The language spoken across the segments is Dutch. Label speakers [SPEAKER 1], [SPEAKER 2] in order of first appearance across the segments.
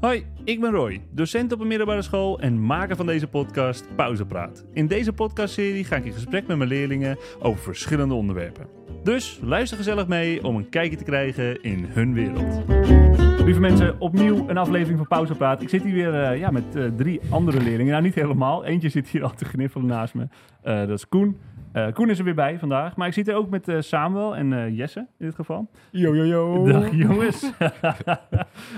[SPEAKER 1] Hoi, ik ben Roy, docent op een middelbare school en maker van deze podcast Pauzepraat. In deze podcastserie ga ik in gesprek met mijn leerlingen over verschillende onderwerpen. Dus luister gezellig mee om een kijkje te krijgen in hun wereld.
[SPEAKER 2] Lieve mensen, opnieuw een aflevering van Pauzepraat. Ik zit hier weer eh, ja, met eh, drie andere leerlingen. Nou, niet helemaal. Eentje zit hier al te gniffelen naast me. Eh, dat is Koen. Eh, Koen is er weer bij vandaag. Maar ik zit er ook met eh, Samuel en eh, Jesse in dit geval.
[SPEAKER 3] Yo, yo, yo.
[SPEAKER 2] Dag jongens.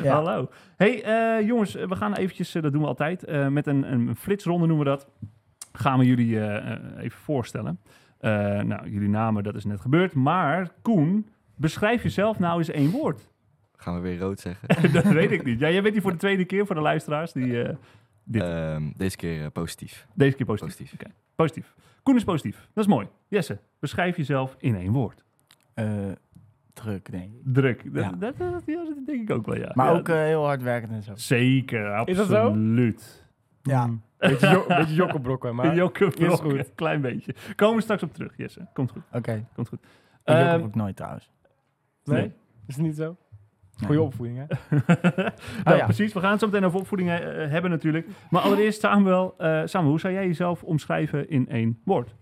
[SPEAKER 3] Ja.
[SPEAKER 2] Hallo. Hey eh, jongens, eh, we gaan eventjes, eh, dat doen we altijd, eh, met een, een flitsronde noemen we dat. Gaan we jullie eh, eh, even voorstellen. Eh, nou, jullie namen, dat is net gebeurd. Maar Koen, beschrijf jezelf nou eens één woord.
[SPEAKER 4] Gaan we weer rood zeggen?
[SPEAKER 2] dat weet ik niet. Ja, jij bent hier voor de tweede keer voor de luisteraars. Die, eh, Dit.
[SPEAKER 4] Ehm, deze keer eh, positief.
[SPEAKER 2] deze keer positief.
[SPEAKER 4] Positief.
[SPEAKER 2] positief. Koen is positief. Dat is mooi. Jesse, beschrijf jezelf in één woord.
[SPEAKER 3] Eh, druk, denk ik.
[SPEAKER 2] Druk. Dat,
[SPEAKER 3] Ja.
[SPEAKER 2] dat, dat- ja, dat denk ik ook wel, ja.
[SPEAKER 3] Maar
[SPEAKER 2] Ja,
[SPEAKER 3] ook eh, heel hard werkend en zo. Mm.
[SPEAKER 2] Zeker,
[SPEAKER 5] Is dat zo?
[SPEAKER 2] absoluut.
[SPEAKER 3] Ja.
[SPEAKER 5] Beetje, jo beetje jokkenbrokken, maar...
[SPEAKER 2] Jokke
[SPEAKER 5] is
[SPEAKER 2] Brok,
[SPEAKER 5] goed.
[SPEAKER 2] klein beetje. Komen we straks op terug, Jesse. Komt goed,
[SPEAKER 3] Oké.
[SPEAKER 2] komt goed.
[SPEAKER 3] Ik
[SPEAKER 2] Ehm,
[SPEAKER 3] ook nooit trouwens.
[SPEAKER 5] nee?
[SPEAKER 2] nee.
[SPEAKER 5] Is het niet zo?
[SPEAKER 3] Nee.
[SPEAKER 5] Goeie opvoeding, hè? Ah
[SPEAKER 2] nou,
[SPEAKER 3] ja.
[SPEAKER 2] Precies, we gaan het zo meteen over opvoeding eh, eh, hebben natuurlijk. Maar allereerst, Samuel, eh, Samuel, hoe zou jij jezelf omschrijven in één woord?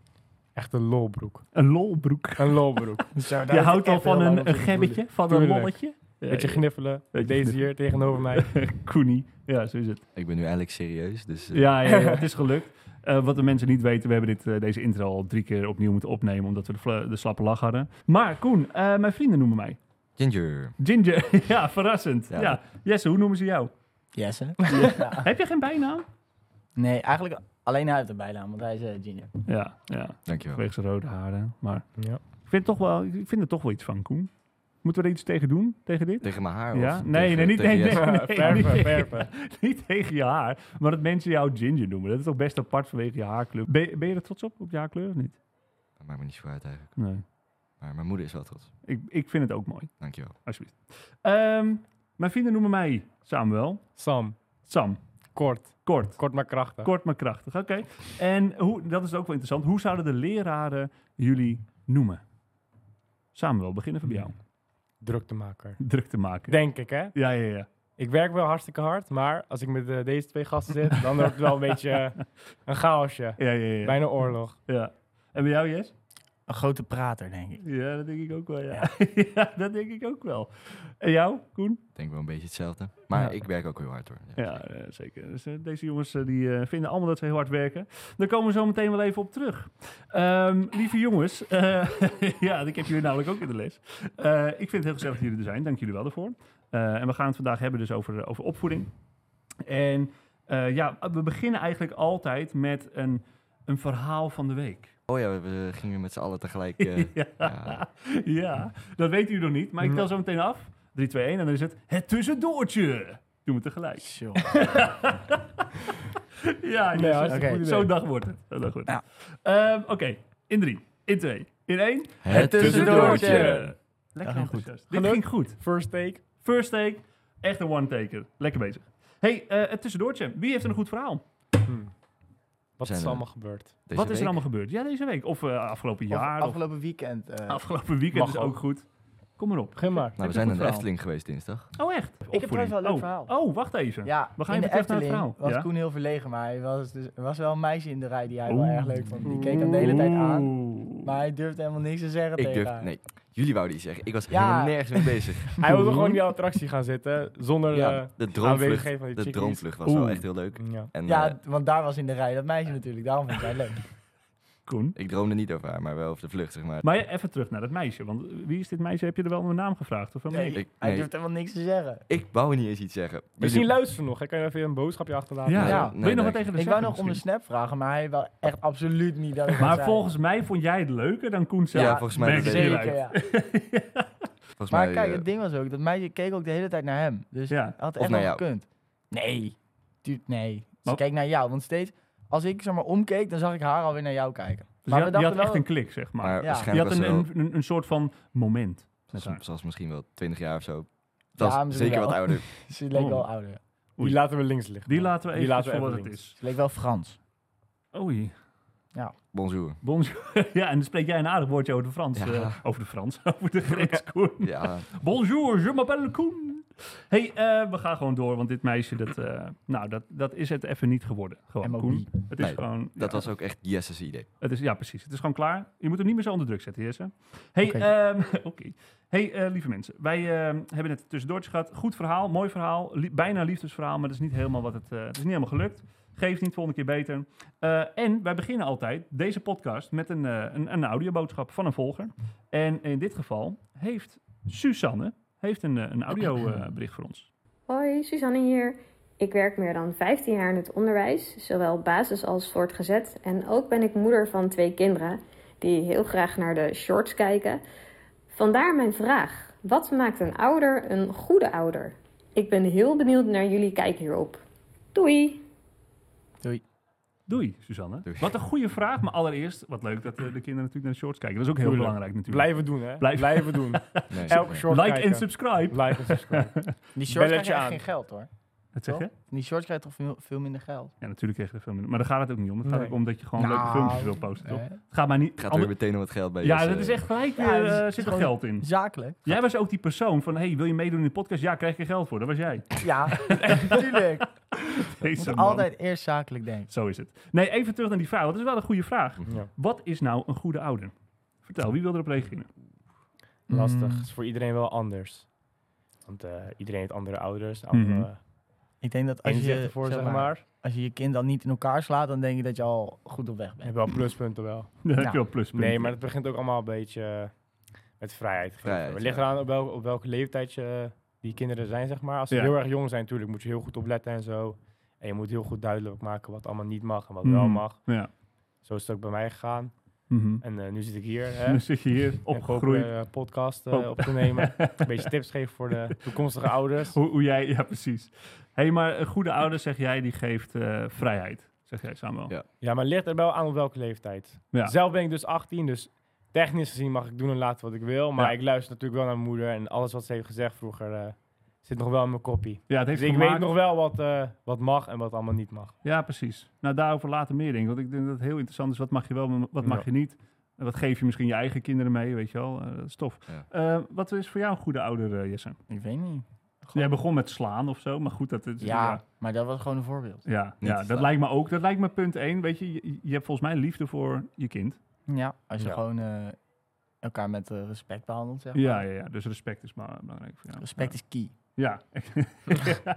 [SPEAKER 5] Echt een lolbroek.
[SPEAKER 2] Een lolbroek.
[SPEAKER 5] Een lolbroek.
[SPEAKER 3] Zo, daar
[SPEAKER 2] Je
[SPEAKER 3] heb
[SPEAKER 2] houdt
[SPEAKER 3] ik
[SPEAKER 2] al
[SPEAKER 3] echt
[SPEAKER 2] van
[SPEAKER 3] heel lang
[SPEAKER 2] een,
[SPEAKER 3] op
[SPEAKER 2] een
[SPEAKER 3] zitten
[SPEAKER 2] gebbetje, van een
[SPEAKER 5] Tuurlijk.
[SPEAKER 2] lolletje. Ja,
[SPEAKER 5] Beetje gniffelen.
[SPEAKER 2] Beetje
[SPEAKER 5] Deze hier tegenover mij.
[SPEAKER 2] Koenie. Ja, zo is het.
[SPEAKER 4] Ik ben nu eigenlijk serieus, dus eh,
[SPEAKER 2] Ja, ja, ja, het is gelukt. Eh, wat de mensen niet weten, we hebben dit, eh, deze intro al drie keer opnieuw moeten opnemen, omdat we de, fla- de slappe lach hadden. Maar Koen, eh, mijn vrienden noemen mij
[SPEAKER 4] Ginger.
[SPEAKER 2] Ginger. ja, verrassend. Ja. Ah.
[SPEAKER 4] Ja.
[SPEAKER 2] Jesse, hoe noemen ze jou?
[SPEAKER 3] doen. Jesse?
[SPEAKER 2] Heb je geen bijnaam?
[SPEAKER 3] Nee, eigenlijk alleen hij heeft een bijnaam, want hij is eh, Ginger.
[SPEAKER 2] Ja, ja,
[SPEAKER 4] Dankjewel.
[SPEAKER 2] vanwege zijn rode haren. Maar
[SPEAKER 5] Ja.
[SPEAKER 2] ik vind, toch wel, ik vind er toch wel iets van, Koen. Moeten we er iets tegen doen, tegen dit?
[SPEAKER 4] Tegen mijn haar?
[SPEAKER 2] Ja?
[SPEAKER 4] Of
[SPEAKER 2] Nee,
[SPEAKER 4] tegen-
[SPEAKER 2] nee, niet
[SPEAKER 4] tegen
[SPEAKER 2] nee,
[SPEAKER 4] Jesse?
[SPEAKER 2] nee.
[SPEAKER 5] Verven, verven.
[SPEAKER 2] Niet tegen je haar, maar dat mensen jou ginger noemen. Dat is toch best apart vanwege je haarkleur. Ben, je- ben je er trots op, op je haarkleur of niet?
[SPEAKER 4] Dat maakt me niet zo uit eigenlijk.
[SPEAKER 2] Nee.
[SPEAKER 4] Maar mijn moeder is wel trots.
[SPEAKER 2] Ik, ik vind het ook mooi,
[SPEAKER 4] Dankjewel.
[SPEAKER 2] alsjeblieft. Ehm, mijn vrienden noemen mij Samuel.
[SPEAKER 5] Sam,
[SPEAKER 2] Sam,
[SPEAKER 5] kort.
[SPEAKER 2] kort.
[SPEAKER 5] Kort maar krachtig.
[SPEAKER 2] Kort maar krachtig, oké. En hoe, dat is ook wel interessant. Hoe zouden de leraren jullie noemen? Samuel, beginnen van bij jou.
[SPEAKER 5] Druktemaker.
[SPEAKER 2] Druk te maken.
[SPEAKER 5] Denk ik, hè?
[SPEAKER 2] Ja, ja, ja.
[SPEAKER 5] Ik werk wel hartstikke hard, maar als ik met eh, deze twee gasten zit, dan wordt het wel een beetje eh, een chaosje.
[SPEAKER 2] ja, ja, ja, ja.
[SPEAKER 5] Bijna oorlog.
[SPEAKER 2] ja. En bij jou, Jes?
[SPEAKER 3] Een grote prater, denk ik.
[SPEAKER 2] Ja, dat denk ik ook wel, ja. ja, dat denk ik ook wel. En jou, Koen?
[SPEAKER 4] Ik denk wel een beetje hetzelfde. Maar
[SPEAKER 2] Ja.
[SPEAKER 4] ik werk ook heel hard hoor. Ja.
[SPEAKER 2] Ja, eh, zeker. Dus, eh, deze jongens eh, die, eh, vinden allemaal dat ze heel hard werken. Daar komen we zo meteen wel even op terug. Ehm, lieve jongens, eh, ja, ik heb jullie namelijk ook in de les. Eh, ik vind het heel gezellig dat jullie er zijn. Dank jullie wel daarvoor. Eh, en we gaan het vandaag hebben dus over, eh, over opvoeding. En eh, ja, we beginnen eigenlijk altijd met een, een verhaal van de week.
[SPEAKER 4] Oh ja, we, we gingen met z'n allen tegelijk. eh,
[SPEAKER 2] ja.
[SPEAKER 4] ja.
[SPEAKER 2] ja, dat weet u nog niet, maar ik tel zo meteen af. 3, 2, 1 en dan is het het tussendoortje. Doen we tegelijk.
[SPEAKER 3] Tjoh.
[SPEAKER 2] Ja,
[SPEAKER 5] Nee,
[SPEAKER 2] Jezus.
[SPEAKER 5] hartstikke
[SPEAKER 3] Oké.
[SPEAKER 5] goed idee.
[SPEAKER 2] Zo'n dag wordt het. Zo'n dag wordt het. Ehm, Oké, in drie, in twee, in één.
[SPEAKER 4] Het tussendoortje.
[SPEAKER 2] Lekker
[SPEAKER 3] ging
[SPEAKER 2] goed. Dit
[SPEAKER 5] Gelukt?
[SPEAKER 2] ging goed.
[SPEAKER 5] First take.
[SPEAKER 2] First take, echt een one-taker. Lekker bezig. hey, eh, het tussendoortje. Wie heeft er een goed verhaal?
[SPEAKER 5] Hm. Wat
[SPEAKER 4] Zijn
[SPEAKER 5] is
[SPEAKER 4] er-
[SPEAKER 5] allemaal gebeurd?
[SPEAKER 4] Deze
[SPEAKER 2] Wat is er
[SPEAKER 4] week?
[SPEAKER 2] allemaal gebeurd? Ja, deze week. Of eh, afgelopen
[SPEAKER 3] Of
[SPEAKER 2] jaar. Of
[SPEAKER 3] afgelopen weekend. eh,
[SPEAKER 2] afgelopen weekend
[SPEAKER 5] Mag
[SPEAKER 2] is ook
[SPEAKER 5] ook.
[SPEAKER 2] goed. Kom maar op.
[SPEAKER 5] Begin maar.
[SPEAKER 4] Nou,
[SPEAKER 2] Heb
[SPEAKER 4] we
[SPEAKER 2] je
[SPEAKER 4] zijn
[SPEAKER 2] een
[SPEAKER 4] aan
[SPEAKER 2] goed
[SPEAKER 4] de
[SPEAKER 2] verhaal?
[SPEAKER 4] Efteling geweest dinsdag.
[SPEAKER 2] Oh, echt? Opvoeding.
[SPEAKER 3] trouwens wel een leuk
[SPEAKER 2] oh.
[SPEAKER 3] verhaal.
[SPEAKER 2] Oh, wacht even.
[SPEAKER 3] ja,
[SPEAKER 2] we gaan
[SPEAKER 3] in
[SPEAKER 2] even
[SPEAKER 3] de
[SPEAKER 2] terug naar het
[SPEAKER 3] Efteling
[SPEAKER 2] verhaal.
[SPEAKER 3] was
[SPEAKER 2] Ja?
[SPEAKER 3] Koen heel verlegen, maar hij was dus, er was wel een meisje in de rij die hij wel
[SPEAKER 2] Oeh.
[SPEAKER 3] erg leuk vond. Die keek hem de hele tijd aan,
[SPEAKER 2] Oeh.
[SPEAKER 3] maar hij durfde helemaal niks te zeggen
[SPEAKER 4] Ik
[SPEAKER 3] tegen
[SPEAKER 4] durf.
[SPEAKER 3] haar.
[SPEAKER 4] Nee, jullie wouden iets zeggen. Ik was
[SPEAKER 3] Ja.
[SPEAKER 4] helemaal nergens mee bezig.
[SPEAKER 5] Hij wilde gewoon in die attractie gaan zitten, zonder... eh,
[SPEAKER 4] Ja, de droomvlucht,
[SPEAKER 5] aanwezigheid van die
[SPEAKER 4] de
[SPEAKER 5] chickies.
[SPEAKER 4] droomvlucht was
[SPEAKER 2] Oeh.
[SPEAKER 4] wel echt heel leuk.
[SPEAKER 5] ja.
[SPEAKER 4] En eh,
[SPEAKER 3] Ja, want daar was in de rij dat meisje natuurlijk, daarom vond ik het leuk.
[SPEAKER 2] Koen.
[SPEAKER 4] ik droomde niet over haar, maar wel over de vlucht, zeg maar.
[SPEAKER 2] Maar ja, even terug naar dat meisje. Want wie is dit meisje? Heb je er wel een naam gevraagd? Of helemaal
[SPEAKER 3] Nee,
[SPEAKER 2] niet?
[SPEAKER 4] Ik-
[SPEAKER 3] hij
[SPEAKER 4] nee.
[SPEAKER 3] durfde helemaal niks te zeggen.
[SPEAKER 4] Ik wou niet eens iets zeggen.
[SPEAKER 5] Misschien luisteren ze nog. hè? Kan je even een boodschapje achterlaten?
[SPEAKER 2] Ja,
[SPEAKER 3] Ja.
[SPEAKER 2] wil je nog wat tegen de
[SPEAKER 3] Ik wou nog om de snap vragen, maar hij wel echt absoluut niet dat ik
[SPEAKER 2] Maar volgens mij vond jij het leuker dan Koen zelf.
[SPEAKER 4] Ja, volgens mij
[SPEAKER 2] Merk
[SPEAKER 4] dat
[SPEAKER 2] je
[SPEAKER 4] weet
[SPEAKER 3] zeker,
[SPEAKER 2] hieruit.
[SPEAKER 3] ja.
[SPEAKER 4] Volgens
[SPEAKER 3] Maar
[SPEAKER 4] mij,
[SPEAKER 3] kijk,
[SPEAKER 4] eh,
[SPEAKER 3] het ding was ook, dat meisje keek ook de hele tijd naar hem. Dus
[SPEAKER 2] Ja.
[SPEAKER 3] hij had
[SPEAKER 4] Of
[SPEAKER 3] echt
[SPEAKER 4] naar
[SPEAKER 3] wel
[SPEAKER 4] jou.
[SPEAKER 3] gekund. Nee, duurt nee. Ze
[SPEAKER 2] Oh.
[SPEAKER 3] keek naar jou, want steeds als ik zeg maar omkeek, dan zag ik haar alweer naar jou kijken.
[SPEAKER 2] Dus je, had,
[SPEAKER 3] maar we
[SPEAKER 2] je
[SPEAKER 3] dachten
[SPEAKER 2] had echt
[SPEAKER 3] wel-
[SPEAKER 2] een klik, zeg maar.
[SPEAKER 4] maar
[SPEAKER 3] Ja.
[SPEAKER 2] je
[SPEAKER 4] waarschijnlijk
[SPEAKER 2] had
[SPEAKER 4] was
[SPEAKER 2] een,
[SPEAKER 4] ze wel,
[SPEAKER 2] een, een, een soort van moment. met haar.
[SPEAKER 4] zoals, zoals misschien wel 20 jaar of zo. Dat
[SPEAKER 3] Ja,
[SPEAKER 4] is
[SPEAKER 3] misschien
[SPEAKER 4] zeker
[SPEAKER 3] wel.
[SPEAKER 4] wat ouder.
[SPEAKER 3] Ze leek
[SPEAKER 2] Oh.
[SPEAKER 3] wel ouder.
[SPEAKER 5] Die laten we links liggen.
[SPEAKER 2] Die laten we
[SPEAKER 5] Die
[SPEAKER 2] even
[SPEAKER 5] laten we
[SPEAKER 2] voor
[SPEAKER 5] even
[SPEAKER 2] wat het
[SPEAKER 5] links.
[SPEAKER 2] is.
[SPEAKER 3] Ze leek wel Frans.
[SPEAKER 2] Oei.
[SPEAKER 4] Bonjour.
[SPEAKER 2] Bonjour. Ja, en dan spreek jij een aardig woordje over de Frans.
[SPEAKER 4] Ja.
[SPEAKER 2] eh, over de Frans. Over de Grieks, Koen.
[SPEAKER 4] Ja,
[SPEAKER 2] Bonjour, je m'appelle Koen. hey, eh, we gaan gewoon door, want dit meisje, dat, eh, nou, dat, dat is het even niet geworden. Gewoon,
[SPEAKER 3] MOB.
[SPEAKER 2] Koen. Het is
[SPEAKER 4] Nee,
[SPEAKER 2] gewoon...
[SPEAKER 4] Dat
[SPEAKER 2] ja,
[SPEAKER 4] was ook echt Jesse's idee.
[SPEAKER 2] Het is, ja, precies. Het is gewoon klaar. Je moet hem niet meer zo onder druk zetten, Jesse. Hey,
[SPEAKER 3] Oké.
[SPEAKER 2] ehm, oké. hey eh, lieve mensen. Wij ehm, hebben net tussendoortje gehad. Goed verhaal, mooi verhaal. li- bijna liefdesverhaal, maar dat is niet helemaal wat het... eh, het is niet helemaal gelukt. Geeft niet, volgende keer beter. Eh, en wij beginnen altijd deze podcast met een, eh, een, een audioboodschap van een volger. En in dit geval heeft Susanne heeft een, eh, een audiobericht voor ons.
[SPEAKER 6] Hoi, Suzanne hier. Ik werk meer dan 15 jaar in het onderwijs, zowel basis als voortgezet. En ook ben ik moeder van twee kinderen die heel graag naar de shorts kijken. Vandaar mijn vraag: wat maakt een ouder een goede ouder? Ik ben heel benieuwd naar jullie kijk hierop. Doei!
[SPEAKER 2] Doei, Suzanne.
[SPEAKER 4] Doei.
[SPEAKER 2] Wat een goede vraag. Maar allereerst, wat leuk dat eh, de kinderen natuurlijk naar de shorts kijken. Dat is ook heel
[SPEAKER 5] Tuurlijk.
[SPEAKER 2] belangrijk natuurlijk.
[SPEAKER 5] Blijven doen, hè?
[SPEAKER 2] Blijf-
[SPEAKER 5] Blijven doen.
[SPEAKER 4] Nee,
[SPEAKER 5] Elke
[SPEAKER 4] nee.
[SPEAKER 5] short
[SPEAKER 2] Like
[SPEAKER 5] kijken.
[SPEAKER 2] en subscribe.
[SPEAKER 5] Like en subscribe.
[SPEAKER 3] Die shorts krijg
[SPEAKER 5] Belletje
[SPEAKER 3] je echt
[SPEAKER 5] aan.
[SPEAKER 3] geen geld hoor.
[SPEAKER 2] Dat zeg je?
[SPEAKER 3] Die shorts krijg je toch veel, veel minder geld.
[SPEAKER 2] Ja, natuurlijk kreeg je er veel minder. Maar daar gaat het ook niet om. Het gaat
[SPEAKER 5] Nee.
[SPEAKER 2] ook om dat je gewoon
[SPEAKER 3] Nou,
[SPEAKER 2] leuke filmpjes wil posten, toch?
[SPEAKER 3] eh,
[SPEAKER 2] Het gaat maar niet...
[SPEAKER 4] Gaat er
[SPEAKER 2] ander-
[SPEAKER 4] weer meteen om het geld bij
[SPEAKER 2] ja,
[SPEAKER 4] Jesse.
[SPEAKER 2] dat is echt gelijk
[SPEAKER 3] Ja,
[SPEAKER 2] weer,
[SPEAKER 3] het is-
[SPEAKER 2] eh,
[SPEAKER 3] het is
[SPEAKER 2] zit er
[SPEAKER 3] gewoon-
[SPEAKER 2] geld in.
[SPEAKER 3] Zakelijk.
[SPEAKER 2] Jij was ook die persoon van, hey, wil je meedoen in de podcast? Ja, krijg je geld voor. Dat was jij.
[SPEAKER 3] Ja, natuurlijk. Je
[SPEAKER 2] Deze
[SPEAKER 3] moet
[SPEAKER 2] man.
[SPEAKER 3] altijd eerst zakelijk denken.
[SPEAKER 2] Zo is het. Nee, even terug naar die vraag. want Dat is wel een goede vraag.
[SPEAKER 4] Mhm.
[SPEAKER 5] Ja.
[SPEAKER 2] Wat is nou een goede ouder? Vertel, wie wil erop reageren?
[SPEAKER 5] Lastig.
[SPEAKER 3] Mm.
[SPEAKER 5] is voor iedereen wel anders. Want eh, iedereen heeft andere ouders. Andere
[SPEAKER 2] Mhm.
[SPEAKER 3] Ik denk dat als
[SPEAKER 5] inzichten
[SPEAKER 3] je,
[SPEAKER 5] voor,
[SPEAKER 3] zeg
[SPEAKER 5] zeg
[SPEAKER 3] maar,
[SPEAKER 5] maar.
[SPEAKER 3] als je je kind dan niet in elkaar slaat, dan denk je dat je al goed op weg bent.
[SPEAKER 5] Heb wel pluspunten wel.
[SPEAKER 2] Dan heb
[SPEAKER 3] Nou,
[SPEAKER 2] je wel pluspunten.
[SPEAKER 5] Nee, maar het begint ook allemaal een beetje eh, met vrijheid. geven.
[SPEAKER 4] Vrijheid,
[SPEAKER 5] het ligt
[SPEAKER 4] ja.
[SPEAKER 5] eraan op, wel- op welke leeftijd je, eh, die kinderen zijn, zeg maar. Als ze
[SPEAKER 2] Ja.
[SPEAKER 5] heel erg jong zijn, natuurlijk moet je heel goed opletten en zo. En je moet heel goed duidelijk maken wat allemaal niet mag en wat wel
[SPEAKER 2] Mm.
[SPEAKER 5] mag.
[SPEAKER 2] Ja.
[SPEAKER 5] Zo is het ook bij mij gegaan.
[SPEAKER 2] Mhm.
[SPEAKER 5] En eh, nu zit ik hier. Hè,
[SPEAKER 2] Dan zit je hier
[SPEAKER 5] en hoop,
[SPEAKER 2] opgegroeid.
[SPEAKER 5] eh, podcast eh,
[SPEAKER 2] Hoop.
[SPEAKER 5] op te nemen. een beetje tips geven voor de toekomstige ouders.
[SPEAKER 2] Hoe, hoe jij, ja precies. hey, maar een goede ouder, zeg jij, die geeft eh, vrijheid. Zeg jij, Samuel.
[SPEAKER 4] Ja.
[SPEAKER 5] Ja, maar het ligt er wel aan op welke leeftijd.
[SPEAKER 2] Ja.
[SPEAKER 5] Zelf ben ik dus 18, dus technisch gezien mag ik doen en laten wat ik wil. Maar
[SPEAKER 2] Ja.
[SPEAKER 5] ik luister natuurlijk wel naar mijn moeder en alles wat ze heeft gezegd vroeger eh, zit nog wel in mijn koppie.
[SPEAKER 2] Ja, het
[SPEAKER 5] Dus
[SPEAKER 2] heeft
[SPEAKER 5] ik
[SPEAKER 2] gemaakt-
[SPEAKER 5] weet nog wel wat, eh, wat mag en wat allemaal niet mag.
[SPEAKER 2] Ja, precies. Nou, daarover later meer denk ik. Want ik denk dat het heel interessant is. Wat mag je wel, en wat mag
[SPEAKER 5] Ja.
[SPEAKER 2] je niet? En wat geef je misschien je eigen kinderen mee, weet je wel? Eh, dat is tof.
[SPEAKER 4] Ja.
[SPEAKER 2] Eh, wat is voor jou een goede ouder, eh, Jesse?
[SPEAKER 3] Ik weet niet.
[SPEAKER 2] Jij begon met slaan of zo, maar goed, dat is...
[SPEAKER 3] Ja, maar dat was gewoon een voorbeeld.
[SPEAKER 2] Ja,
[SPEAKER 4] Niet
[SPEAKER 2] ja, dat
[SPEAKER 4] slaan.
[SPEAKER 2] lijkt me ook. Dat lijkt me punt één. Weet je, je, je hebt volgens mij liefde voor je kind.
[SPEAKER 3] Ja, als je
[SPEAKER 5] Ja.
[SPEAKER 3] gewoon eh, elkaar met eh, respect behandelt, zeg maar.
[SPEAKER 2] Ja, ja, ja. Dus respect is maar belangrijk voor jou.
[SPEAKER 3] Respect is key.
[SPEAKER 2] Ja.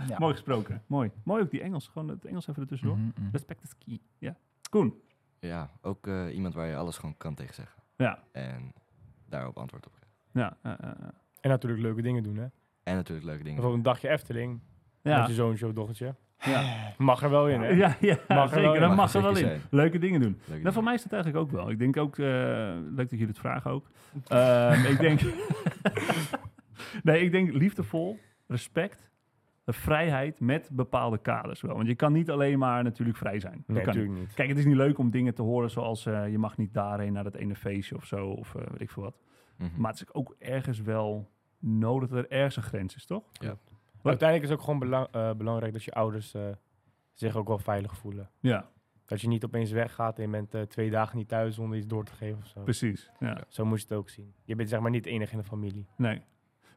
[SPEAKER 3] Ja.
[SPEAKER 2] Mooi gesproken. Mooi. Mooi ook die Engels. Gewoon het Engels even ertussendoor.
[SPEAKER 3] Mhm, mhm.
[SPEAKER 2] Respect is key. Ja. Koen.
[SPEAKER 4] Ja, ook eh, iemand waar je alles gewoon kan tegen zeggen.
[SPEAKER 2] Ja.
[SPEAKER 4] En daarop antwoord op geven.
[SPEAKER 2] Ja. eh, eh, eh.
[SPEAKER 5] En natuurlijk leuke dingen doen, hè.
[SPEAKER 4] En natuurlijk leuke dingen.
[SPEAKER 5] Bijvoorbeeld een dagje Efteling met
[SPEAKER 2] ja.
[SPEAKER 5] je zoontje of dochtertje.
[SPEAKER 2] ja.
[SPEAKER 5] Mag er wel in, hè.
[SPEAKER 2] Ja, ja,
[SPEAKER 5] wel
[SPEAKER 2] zeker.
[SPEAKER 5] in.
[SPEAKER 2] Dat
[SPEAKER 4] Mag
[SPEAKER 2] mag er
[SPEAKER 4] er
[SPEAKER 2] wel
[SPEAKER 4] zeker
[SPEAKER 2] in.
[SPEAKER 4] zijn.
[SPEAKER 2] Leuke dingen doen.
[SPEAKER 4] Leuke
[SPEAKER 2] Nou, voor
[SPEAKER 4] dingen.
[SPEAKER 2] mij is dat eigenlijk ook wel. Ik denk ook, eh, leuk dat jullie het vragen ook. Ehm, ik denk, nee, ik denk liefdevol, respect, eh, vrijheid met bepaalde kaders wel. Want je kan niet alleen maar natuurlijk vrij zijn. Dat
[SPEAKER 5] Nee,
[SPEAKER 2] kan niet.
[SPEAKER 5] natuurlijk niet.
[SPEAKER 2] Kijk, het is niet leuk om dingen te horen zoals eh, je mag niet daarheen naar dat ene feestje of zo, of eh, weet ik veel wat.
[SPEAKER 4] Mhm.
[SPEAKER 2] Maar het is ook ergens wel nodig dat er ergens een grens is, toch?
[SPEAKER 5] Uiteindelijk is het ook gewoon belang- eh, belangrijk dat je ouders eh, zich ook wel veilig voelen.
[SPEAKER 2] Ja,
[SPEAKER 5] Dat je niet opeens weggaat en je bent eh, twee dagen niet thuis zonder iets door te geven of zo.
[SPEAKER 2] precies. Ja.
[SPEAKER 5] Zo moet je het ook zien. Je bent zeg maar niet enig in de familie.
[SPEAKER 2] Nee.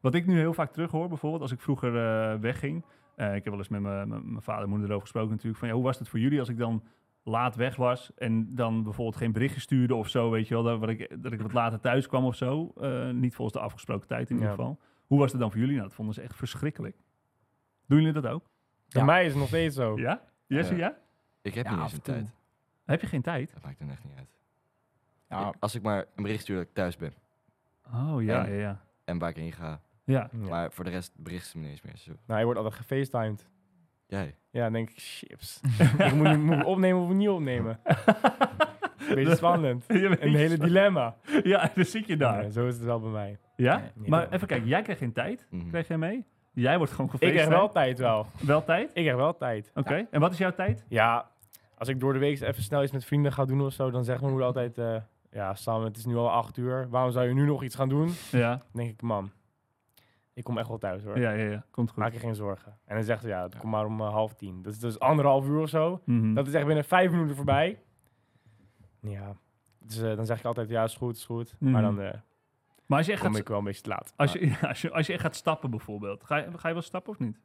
[SPEAKER 2] Wat ik nu heel vaak terughoor, bijvoorbeeld als ik vroeger eh, wegging. eh, ik heb wel eens met mijn mijn- mijn vader en moeder erover gesproken natuurlijk. Van ja, hoe was het voor jullie als ik dan laat weg was en dan bijvoorbeeld geen berichtje stuurde of zo, weet je wel. Dat, wat ik, dat ik wat later thuis kwam of zo. eh, niet volgens de afgesproken tijd in ieder
[SPEAKER 5] Ja.
[SPEAKER 2] geval. Hoe was het dan voor jullie? Nou, dat vonden ze echt verschrikkelijk. Doen jullie dat ook?
[SPEAKER 5] Bij
[SPEAKER 3] Ja.
[SPEAKER 5] mij is het nog steeds zo.
[SPEAKER 2] Ja? Jesse, ja?
[SPEAKER 4] Ja. Ik heb
[SPEAKER 3] Ja,
[SPEAKER 4] niet
[SPEAKER 3] af
[SPEAKER 4] eens
[SPEAKER 3] en
[SPEAKER 4] een
[SPEAKER 3] toe.
[SPEAKER 4] tijd.
[SPEAKER 2] Heb je geen tijd?
[SPEAKER 4] Dat maakt er echt niet uit.
[SPEAKER 3] Ja,
[SPEAKER 4] Ik- Als ik maar een bericht stuur dat ik thuis ben.
[SPEAKER 2] Oh, ja,
[SPEAKER 4] En-
[SPEAKER 2] ja, ja.
[SPEAKER 4] En waar ik heen ga.
[SPEAKER 2] Ja,
[SPEAKER 5] Ja.
[SPEAKER 4] Maar voor de rest bericht ze me niet eens meer. Zo,
[SPEAKER 5] Nou, je wordt altijd gefacetimed.
[SPEAKER 4] jij.
[SPEAKER 5] Ja, dan denk ik, chips. ik moet, nu- moet ik opnemen of niet opnemen? Beetje spannend. Een hele dilemma.
[SPEAKER 2] ja, dan zit je daar.
[SPEAKER 5] Ja, zo is het wel bij mij.
[SPEAKER 2] Ja?
[SPEAKER 3] Nee,
[SPEAKER 5] niet
[SPEAKER 2] maar
[SPEAKER 5] helemaal.
[SPEAKER 2] even kijken, jij krijgt geen tijd?
[SPEAKER 4] Mhm.
[SPEAKER 2] Krijg jij mee? Jij wordt gewoon
[SPEAKER 5] Ik
[SPEAKER 2] gefeest.
[SPEAKER 5] krijg wel tijd wel.
[SPEAKER 2] Wel tijd?
[SPEAKER 5] Ik krijg wel tijd.
[SPEAKER 2] Oké, en wat is jouw tijd?
[SPEAKER 5] Ja, als ik door de week even snel iets met vrienden ga doen of zo, dan zegt mijn moeder altijd... eh, ja, Sam, het is nu al acht uur. Waarom zou je nu nog iets gaan doen?
[SPEAKER 2] Ja,
[SPEAKER 5] Dan denk ik, mam, ik kom echt wel thuis hoor.
[SPEAKER 2] ja, ja, ja. komt goed.
[SPEAKER 5] Maak je geen zorgen. En dan zegt ze, ja, het komt maar om eh, half tien. Dat is dus anderhalf uur of zo.
[SPEAKER 2] Mhm.
[SPEAKER 5] Dat is echt binnen vijf minuten voorbij. Ja. Dus eh, dan zeg ik altijd, ja, is goed, is goed.
[SPEAKER 2] Mhm.
[SPEAKER 5] Maar dan eh,
[SPEAKER 2] Maar als je echt
[SPEAKER 5] kom
[SPEAKER 2] gaat,
[SPEAKER 5] ik wel een beetje te laat.
[SPEAKER 2] als je, als je, als je echt gaat stappen bijvoorbeeld, ga je, ga je wel stappen of niet?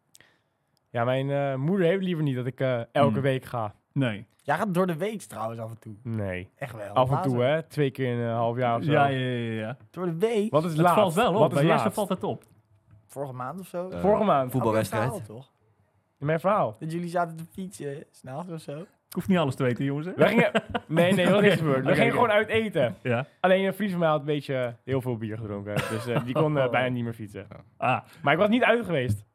[SPEAKER 5] Ja, mijn eh, moeder heeft liever niet dat ik eh, elke
[SPEAKER 2] Hmm.
[SPEAKER 5] week ga.
[SPEAKER 2] Nee.
[SPEAKER 3] Jij gaat door de week trouwens af en toe.
[SPEAKER 5] Nee.
[SPEAKER 3] Echt wel.
[SPEAKER 5] Af en toe,
[SPEAKER 3] Later.
[SPEAKER 5] hè? Twee keer in een half jaar of Nou, zo.
[SPEAKER 2] Ja, ja, ja. ja.
[SPEAKER 3] Door de week.
[SPEAKER 5] Wat is
[SPEAKER 2] Het
[SPEAKER 5] laat?
[SPEAKER 2] valt wel op.
[SPEAKER 5] Wat is
[SPEAKER 2] Bij Jesse
[SPEAKER 5] laatst?
[SPEAKER 2] valt het op.
[SPEAKER 3] Vorige maand of zo.
[SPEAKER 4] Eh,
[SPEAKER 5] Vorige maand.
[SPEAKER 4] Voetbalwedstrijd.
[SPEAKER 3] Verhaal, toch?
[SPEAKER 5] Mijn verhaal.
[SPEAKER 3] Dat jullie zaten te fietsen, eh, s'nachts of zo.
[SPEAKER 2] Ik hoef niet alles te weten, jongens. Hè?
[SPEAKER 5] We gingen... Nee, nee, dat is niet gebeurd. We
[SPEAKER 2] Oké,
[SPEAKER 5] gingen
[SPEAKER 2] oké.
[SPEAKER 5] gewoon uit eten.
[SPEAKER 2] Ja.
[SPEAKER 5] Alleen een vriend van mij had een beetje eh, heel veel bier gedronken. Dus eh, die kon
[SPEAKER 2] Oh.
[SPEAKER 5] eh, bijna niet meer fietsen.
[SPEAKER 2] Ah,
[SPEAKER 5] Maar ik was niet uit geweest.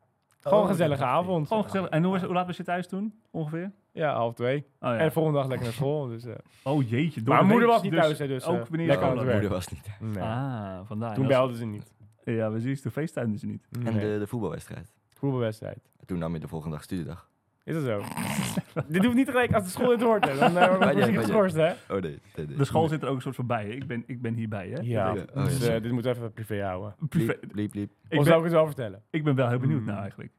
[SPEAKER 5] Gewoon
[SPEAKER 3] Oh,
[SPEAKER 5] een gezellige
[SPEAKER 3] dat-
[SPEAKER 5] avond.
[SPEAKER 2] gewoon gezellig. En hoe, was- hoe laat was je thuis toen, ongeveer?
[SPEAKER 5] Ja, half twee.
[SPEAKER 2] Oh, ja.
[SPEAKER 5] En de volgende dag lekker naar school. Dus, eh.
[SPEAKER 2] oh jeetje. door
[SPEAKER 5] Maar mijn
[SPEAKER 2] de
[SPEAKER 5] moeder
[SPEAKER 2] week,
[SPEAKER 5] was niet
[SPEAKER 2] dus-
[SPEAKER 5] thuis, hè, dus
[SPEAKER 2] ook
[SPEAKER 5] eh,
[SPEAKER 2] wanneer je
[SPEAKER 5] lekker
[SPEAKER 4] Oh,
[SPEAKER 5] aan het werk.
[SPEAKER 4] mijn moeder was niet.
[SPEAKER 5] Nee.
[SPEAKER 2] Ah, vandaar.
[SPEAKER 5] Toen
[SPEAKER 2] Dat
[SPEAKER 5] belden ze niet.
[SPEAKER 2] is- Ja, precies. De feesttuin is er niet.
[SPEAKER 5] Nee.
[SPEAKER 4] En de, de voetbalwedstrijd.
[SPEAKER 5] voetbalwedstrijd.
[SPEAKER 4] En toen nam je de volgende dag studiedag.
[SPEAKER 5] Is dat zo? Dit hoeft niet gelijk als de school het hoort. Hè. Dan eh, word
[SPEAKER 4] jij,
[SPEAKER 5] ik
[SPEAKER 4] maar
[SPEAKER 5] geschorst, hè?
[SPEAKER 4] Oh nee. nee, nee.
[SPEAKER 2] De school zit er ook een soort van bij. hè? Ik ben, ik ben hierbij, hè?
[SPEAKER 5] Ja,
[SPEAKER 4] Ja. Oh,
[SPEAKER 5] dus
[SPEAKER 4] ja.
[SPEAKER 5] eh, dit moeten we even privé houden.
[SPEAKER 2] Privé-
[SPEAKER 4] Bliep, bliep, bliep.
[SPEAKER 5] Of
[SPEAKER 2] Ik
[SPEAKER 5] zou
[SPEAKER 2] ben,
[SPEAKER 5] ik het wel vertellen?
[SPEAKER 2] ik ben wel heel benieuwd
[SPEAKER 5] Mm.
[SPEAKER 2] naar eigenlijk.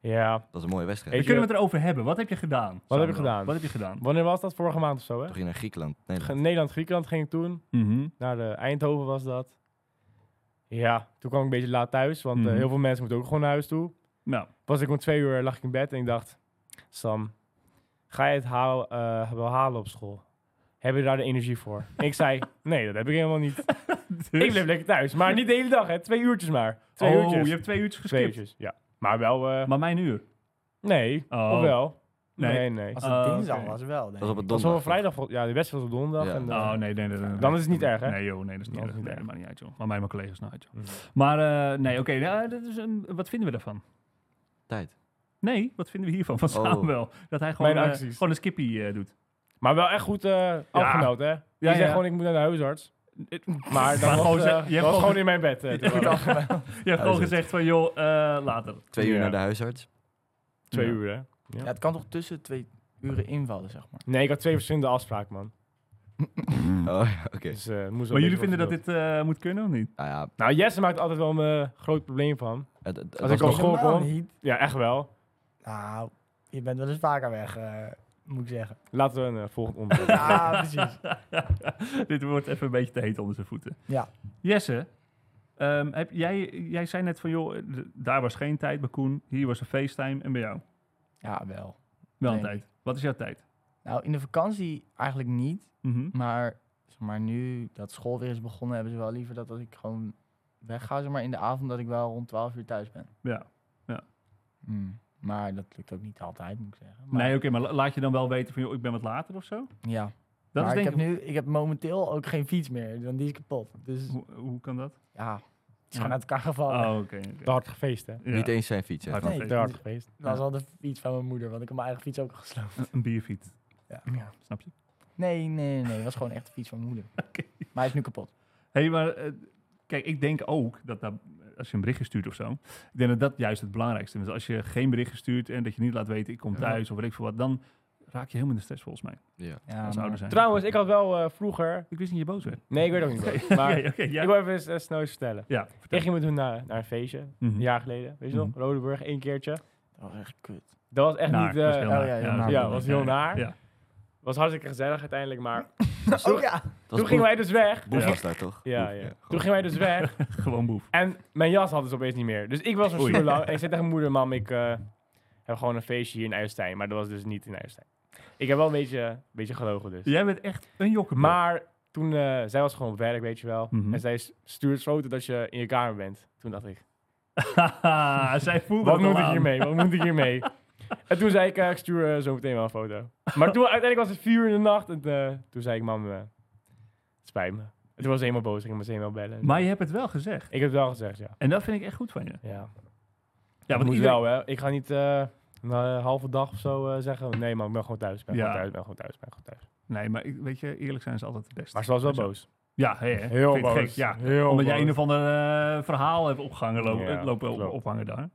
[SPEAKER 5] Ja.
[SPEAKER 4] Dat was een mooie wedstrijd.
[SPEAKER 5] Ik-
[SPEAKER 2] Kunnen we het erover hebben? Wat heb je gedaan? Samuel?
[SPEAKER 5] heb ik gedaan?
[SPEAKER 2] Wat heb je gedaan?
[SPEAKER 5] Wanneer was dat? Vorige maand of zo, hè?
[SPEAKER 4] Toen ging je naar Griekenland. Nee,
[SPEAKER 5] Ge- Nederland-Griekenland ging ik toen.
[SPEAKER 2] Mhm.
[SPEAKER 5] Naar de Eindhoven was dat. Ja, toen kwam ik een beetje laat thuis. Want eh,
[SPEAKER 2] Mhm.
[SPEAKER 5] heel veel mensen moeten ook gewoon naar huis toe.
[SPEAKER 2] Nou,
[SPEAKER 5] Pas ik om twee uur eh, lag ik in bed en ik dacht... Sam, ga je het haal, eh, wel halen op school? Heb je daar de energie voor? En ik zei, nee, dat heb ik helemaal niet.
[SPEAKER 2] dus-
[SPEAKER 5] Ik bleef lekker thuis. Maar niet de hele dag, hè. Twee uurtjes maar. Twee
[SPEAKER 2] oh,
[SPEAKER 5] uurtjes.
[SPEAKER 2] je hebt twee uurtjes
[SPEAKER 5] Twee
[SPEAKER 2] geskipt.
[SPEAKER 5] uurtjes, ja. Maar wel... eh,
[SPEAKER 2] Maar mijn uur.
[SPEAKER 5] nee,
[SPEAKER 2] Oh.
[SPEAKER 5] of wel?
[SPEAKER 2] Nee.
[SPEAKER 5] Nee, nee. nee.
[SPEAKER 3] Als
[SPEAKER 5] Dat
[SPEAKER 3] het
[SPEAKER 2] Ah,
[SPEAKER 3] dinsdag
[SPEAKER 2] oké.
[SPEAKER 3] was wel. denk
[SPEAKER 4] Dat was op
[SPEAKER 3] ik.
[SPEAKER 4] een
[SPEAKER 5] was wel
[SPEAKER 4] donderdag.
[SPEAKER 5] vrijdag. vol- Ja, de wedstrijd was op donderdag.
[SPEAKER 4] Ja.
[SPEAKER 5] En, eh,
[SPEAKER 2] Oh, nee, nee, nee, nee.
[SPEAKER 5] Dan is het niet erg, hè?
[SPEAKER 2] Nee, joh, nee, dat is niet
[SPEAKER 5] Dan
[SPEAKER 2] erg.
[SPEAKER 5] is het niet
[SPEAKER 2] Nee,
[SPEAKER 5] erg.
[SPEAKER 2] maar niet uit, joh. Maar mij en mijn collega's nou uit, joh.
[SPEAKER 5] Mm.
[SPEAKER 2] Maar, eh, nee, oké. nou, dat is een- wat vinden we daarvan?
[SPEAKER 4] Tijd.
[SPEAKER 2] Nee, wat vinden we hiervan van
[SPEAKER 4] Oh.
[SPEAKER 2] Samuel? Dat hij gewoon,
[SPEAKER 5] Mijn
[SPEAKER 2] eh,
[SPEAKER 5] acties.
[SPEAKER 2] gewoon een skippy eh, doet.
[SPEAKER 5] Maar wel echt goed eh afgemeld, hè? Die
[SPEAKER 2] ja.
[SPEAKER 5] zegt gewoon, ik moet naar de huisarts. Maar
[SPEAKER 2] Maar
[SPEAKER 5] dat was,
[SPEAKER 2] gewoon
[SPEAKER 5] eh,
[SPEAKER 2] zeg- je
[SPEAKER 5] dat
[SPEAKER 2] hebt
[SPEAKER 5] was
[SPEAKER 2] gewoon-
[SPEAKER 5] gewoon in mijn bed. eh, toen
[SPEAKER 2] Ja.
[SPEAKER 5] was het.
[SPEAKER 2] Je hebt gewoon
[SPEAKER 4] is het.
[SPEAKER 2] gezegd van, joh, eh, later.
[SPEAKER 4] Twee uur
[SPEAKER 5] Ja.
[SPEAKER 4] naar de huisarts.
[SPEAKER 5] Twee
[SPEAKER 2] Ja.
[SPEAKER 5] uur, hè?
[SPEAKER 3] Ja, het kan toch tussen twee uren invallen, zeg maar.
[SPEAKER 5] Nee, ik had twee verschillende afspraken, man.
[SPEAKER 4] Oh ja, oké.
[SPEAKER 5] Dus, eh, het moest wel
[SPEAKER 2] Maar jullie
[SPEAKER 5] een beetje
[SPEAKER 2] vinden dat
[SPEAKER 5] wat
[SPEAKER 2] dit eh, moet kunnen of niet?
[SPEAKER 4] Nou ja,
[SPEAKER 5] geduld. Nou, Jesse maakt altijd wel een eh, groot probleem van.
[SPEAKER 4] het, het, het
[SPEAKER 5] Als ik
[SPEAKER 4] was
[SPEAKER 5] al
[SPEAKER 4] nog-
[SPEAKER 5] school
[SPEAKER 3] Helemaal
[SPEAKER 5] kwam.
[SPEAKER 3] niet.
[SPEAKER 5] Ja, echt wel.
[SPEAKER 3] Nou, je bent wel eens vaker weg, eh, moet ik zeggen.
[SPEAKER 5] Laten we een eh, volgend onderwerp.
[SPEAKER 3] Ja, precies.
[SPEAKER 2] Dit wordt even een beetje te heet onder zijn voeten.
[SPEAKER 3] Ja.
[SPEAKER 2] Jesse, ehm, heb, jij, jij zei net van, joh, d- daar was geen tijd bij Koen. Hier was een FaceTime en bij jou
[SPEAKER 3] Ja, wel.
[SPEAKER 2] wel een
[SPEAKER 3] Nee.
[SPEAKER 2] tijd. Wat is jouw tijd?
[SPEAKER 3] Nou, in de vakantie eigenlijk niet.
[SPEAKER 2] Mhm.
[SPEAKER 3] Maar, zeg maar nu dat school weer is begonnen, hebben ze wel liever dat als ik gewoon wegga, zeg maar in de avond, dat ik wel rond 12 uur thuis ben. Hmm.
[SPEAKER 2] Ja.
[SPEAKER 3] Maar dat lukt ook niet altijd, moet ik zeggen. Maar,
[SPEAKER 2] Nee, oké, maar la- laat je dan wel weten van, joh, ik ben wat later of zo?
[SPEAKER 3] Ja.
[SPEAKER 2] Dat
[SPEAKER 3] maar
[SPEAKER 2] is
[SPEAKER 3] ik
[SPEAKER 2] denk
[SPEAKER 3] heb nu, ik heb momenteel ook geen fiets meer, want die is kapot. Dus
[SPEAKER 2] Hoe, hoe kan dat?
[SPEAKER 3] ja, het is
[SPEAKER 2] Ja.
[SPEAKER 3] gewoon uit elkaar gevallen.
[SPEAKER 2] Oh, oké. oké.
[SPEAKER 5] Te hard gefeest, hè?
[SPEAKER 2] Ja.
[SPEAKER 4] niet eens zijn fiets. hè.
[SPEAKER 2] Hard
[SPEAKER 4] Gewoon-
[SPEAKER 3] Nee,
[SPEAKER 5] Te hard gefeest.
[SPEAKER 3] Dat was al de fiets van mijn moeder, want ik heb mijn eigen fiets ook al gesloten.
[SPEAKER 2] Een- Een bierfiets.
[SPEAKER 3] Ja.
[SPEAKER 2] Snap je?
[SPEAKER 3] Nee, nee, nee, dat was gewoon echt de fiets van mijn moeder.
[SPEAKER 2] Oké.
[SPEAKER 3] Maar hij is nu kapot.
[SPEAKER 2] Hé, hey, maar eh, kijk, ik denk ook dat daar, als je een berichtje stuurt of zo, ik denk dat dat juist het belangrijkste is. Als je geen berichtje stuurt en dat je niet laat weten, ik kom
[SPEAKER 4] Ja.
[SPEAKER 2] thuis of weet ik veel wat, dan raak je helemaal in de stress volgens mij.
[SPEAKER 4] Ja.
[SPEAKER 3] Ja,
[SPEAKER 2] Als
[SPEAKER 3] maar-
[SPEAKER 2] ouder zijn.
[SPEAKER 5] Trouwens, ik had wel eh, vroeger...
[SPEAKER 2] Ik wist niet je boos werd.
[SPEAKER 5] Nee, ik weet ook niet wat. Maar
[SPEAKER 2] Oké, oké,
[SPEAKER 5] ik
[SPEAKER 2] ja.
[SPEAKER 5] wil even eens, eh, snel iets vertellen.
[SPEAKER 2] ja vertel.
[SPEAKER 5] Ik ging met hun naar, naar een feestje,
[SPEAKER 2] Mhm.
[SPEAKER 5] een jaar geleden. Weet je nog?
[SPEAKER 2] Mhm.
[SPEAKER 5] Rodeburg, één keertje.
[SPEAKER 3] Dat was echt kut.
[SPEAKER 5] Dat was echt
[SPEAKER 2] Naar,
[SPEAKER 5] niet...
[SPEAKER 2] was
[SPEAKER 5] eh,
[SPEAKER 2] heel
[SPEAKER 3] oh
[SPEAKER 2] naar.
[SPEAKER 3] ja, heel
[SPEAKER 2] dat
[SPEAKER 3] naar.
[SPEAKER 2] is
[SPEAKER 5] Ja, was heel naar.
[SPEAKER 2] Ja.
[SPEAKER 5] was hartstikke gezellig uiteindelijk, maar
[SPEAKER 3] Oh ja,
[SPEAKER 4] Dat was
[SPEAKER 5] toen gingen wij dus weg.
[SPEAKER 4] Boef
[SPEAKER 2] Ja.
[SPEAKER 4] was daar toch?
[SPEAKER 5] Ja,
[SPEAKER 4] Boef,
[SPEAKER 5] ja.
[SPEAKER 4] gewoon.
[SPEAKER 5] Toen gingen wij dus weg
[SPEAKER 2] Gewoon boef.
[SPEAKER 5] en mijn jas hadden ze opeens niet meer. Dus ik was er
[SPEAKER 2] Oei.
[SPEAKER 5] super lang en ik zei tegen mijn moeder, mam, ik eh, heb gewoon een feestje hier in IJsselstein. Maar dat was dus niet in IJsselstein. Ik heb wel een beetje, een beetje gelogen dus.
[SPEAKER 2] Jij bent echt een jokker.
[SPEAKER 5] Maar toen, eh, zij was gewoon op werk, weet je wel.
[SPEAKER 2] Mhm.
[SPEAKER 5] En zij s- stuurt foto dat je in je kamer bent. Toen dacht ik,
[SPEAKER 2] Zij voelde
[SPEAKER 5] wat
[SPEAKER 2] het al
[SPEAKER 5] moet ik
[SPEAKER 2] aan.
[SPEAKER 5] hiermee? Wat moet ik hiermee? En toen zei ik, eh, ik stuur eh, zo meteen wel een foto. Maar toen, uiteindelijk was het vier uur in de nacht. En eh, toen zei ik, mam, eh, het spijt me. En toen was ze helemaal boos. Ik ging me meteen wel bellen.
[SPEAKER 2] Maar je hebt het wel gezegd.
[SPEAKER 5] Ik heb het wel gezegd, ja.
[SPEAKER 2] En dat vind ik echt goed van je.
[SPEAKER 5] Ja,
[SPEAKER 2] Ja,
[SPEAKER 5] moet
[SPEAKER 2] iedereen-
[SPEAKER 5] wel, hè. Ik ga niet eh, een eh, halve dag of zo eh, zeggen... Nee, man, ik ben gewoon thuis. Ik ben
[SPEAKER 2] Ja.
[SPEAKER 5] gewoon thuis, ik ben gewoon thuis, ik ben gewoon thuis.
[SPEAKER 2] Nee, maar ik- weet je, eerlijk zijn is altijd het beste.
[SPEAKER 5] Maar ze was wel
[SPEAKER 2] Zo.
[SPEAKER 5] boos.
[SPEAKER 2] Ja, hè, hè.
[SPEAKER 5] Heel
[SPEAKER 2] Vind ik
[SPEAKER 5] boos.
[SPEAKER 2] gek, ja.
[SPEAKER 5] Heel
[SPEAKER 2] Omdat jij
[SPEAKER 5] boos.
[SPEAKER 2] een of ander eh, verhaal hebt opgehangen, lopen,
[SPEAKER 5] Oh, Ja,
[SPEAKER 2] lopen op-
[SPEAKER 5] klopt.
[SPEAKER 2] ophangen daar.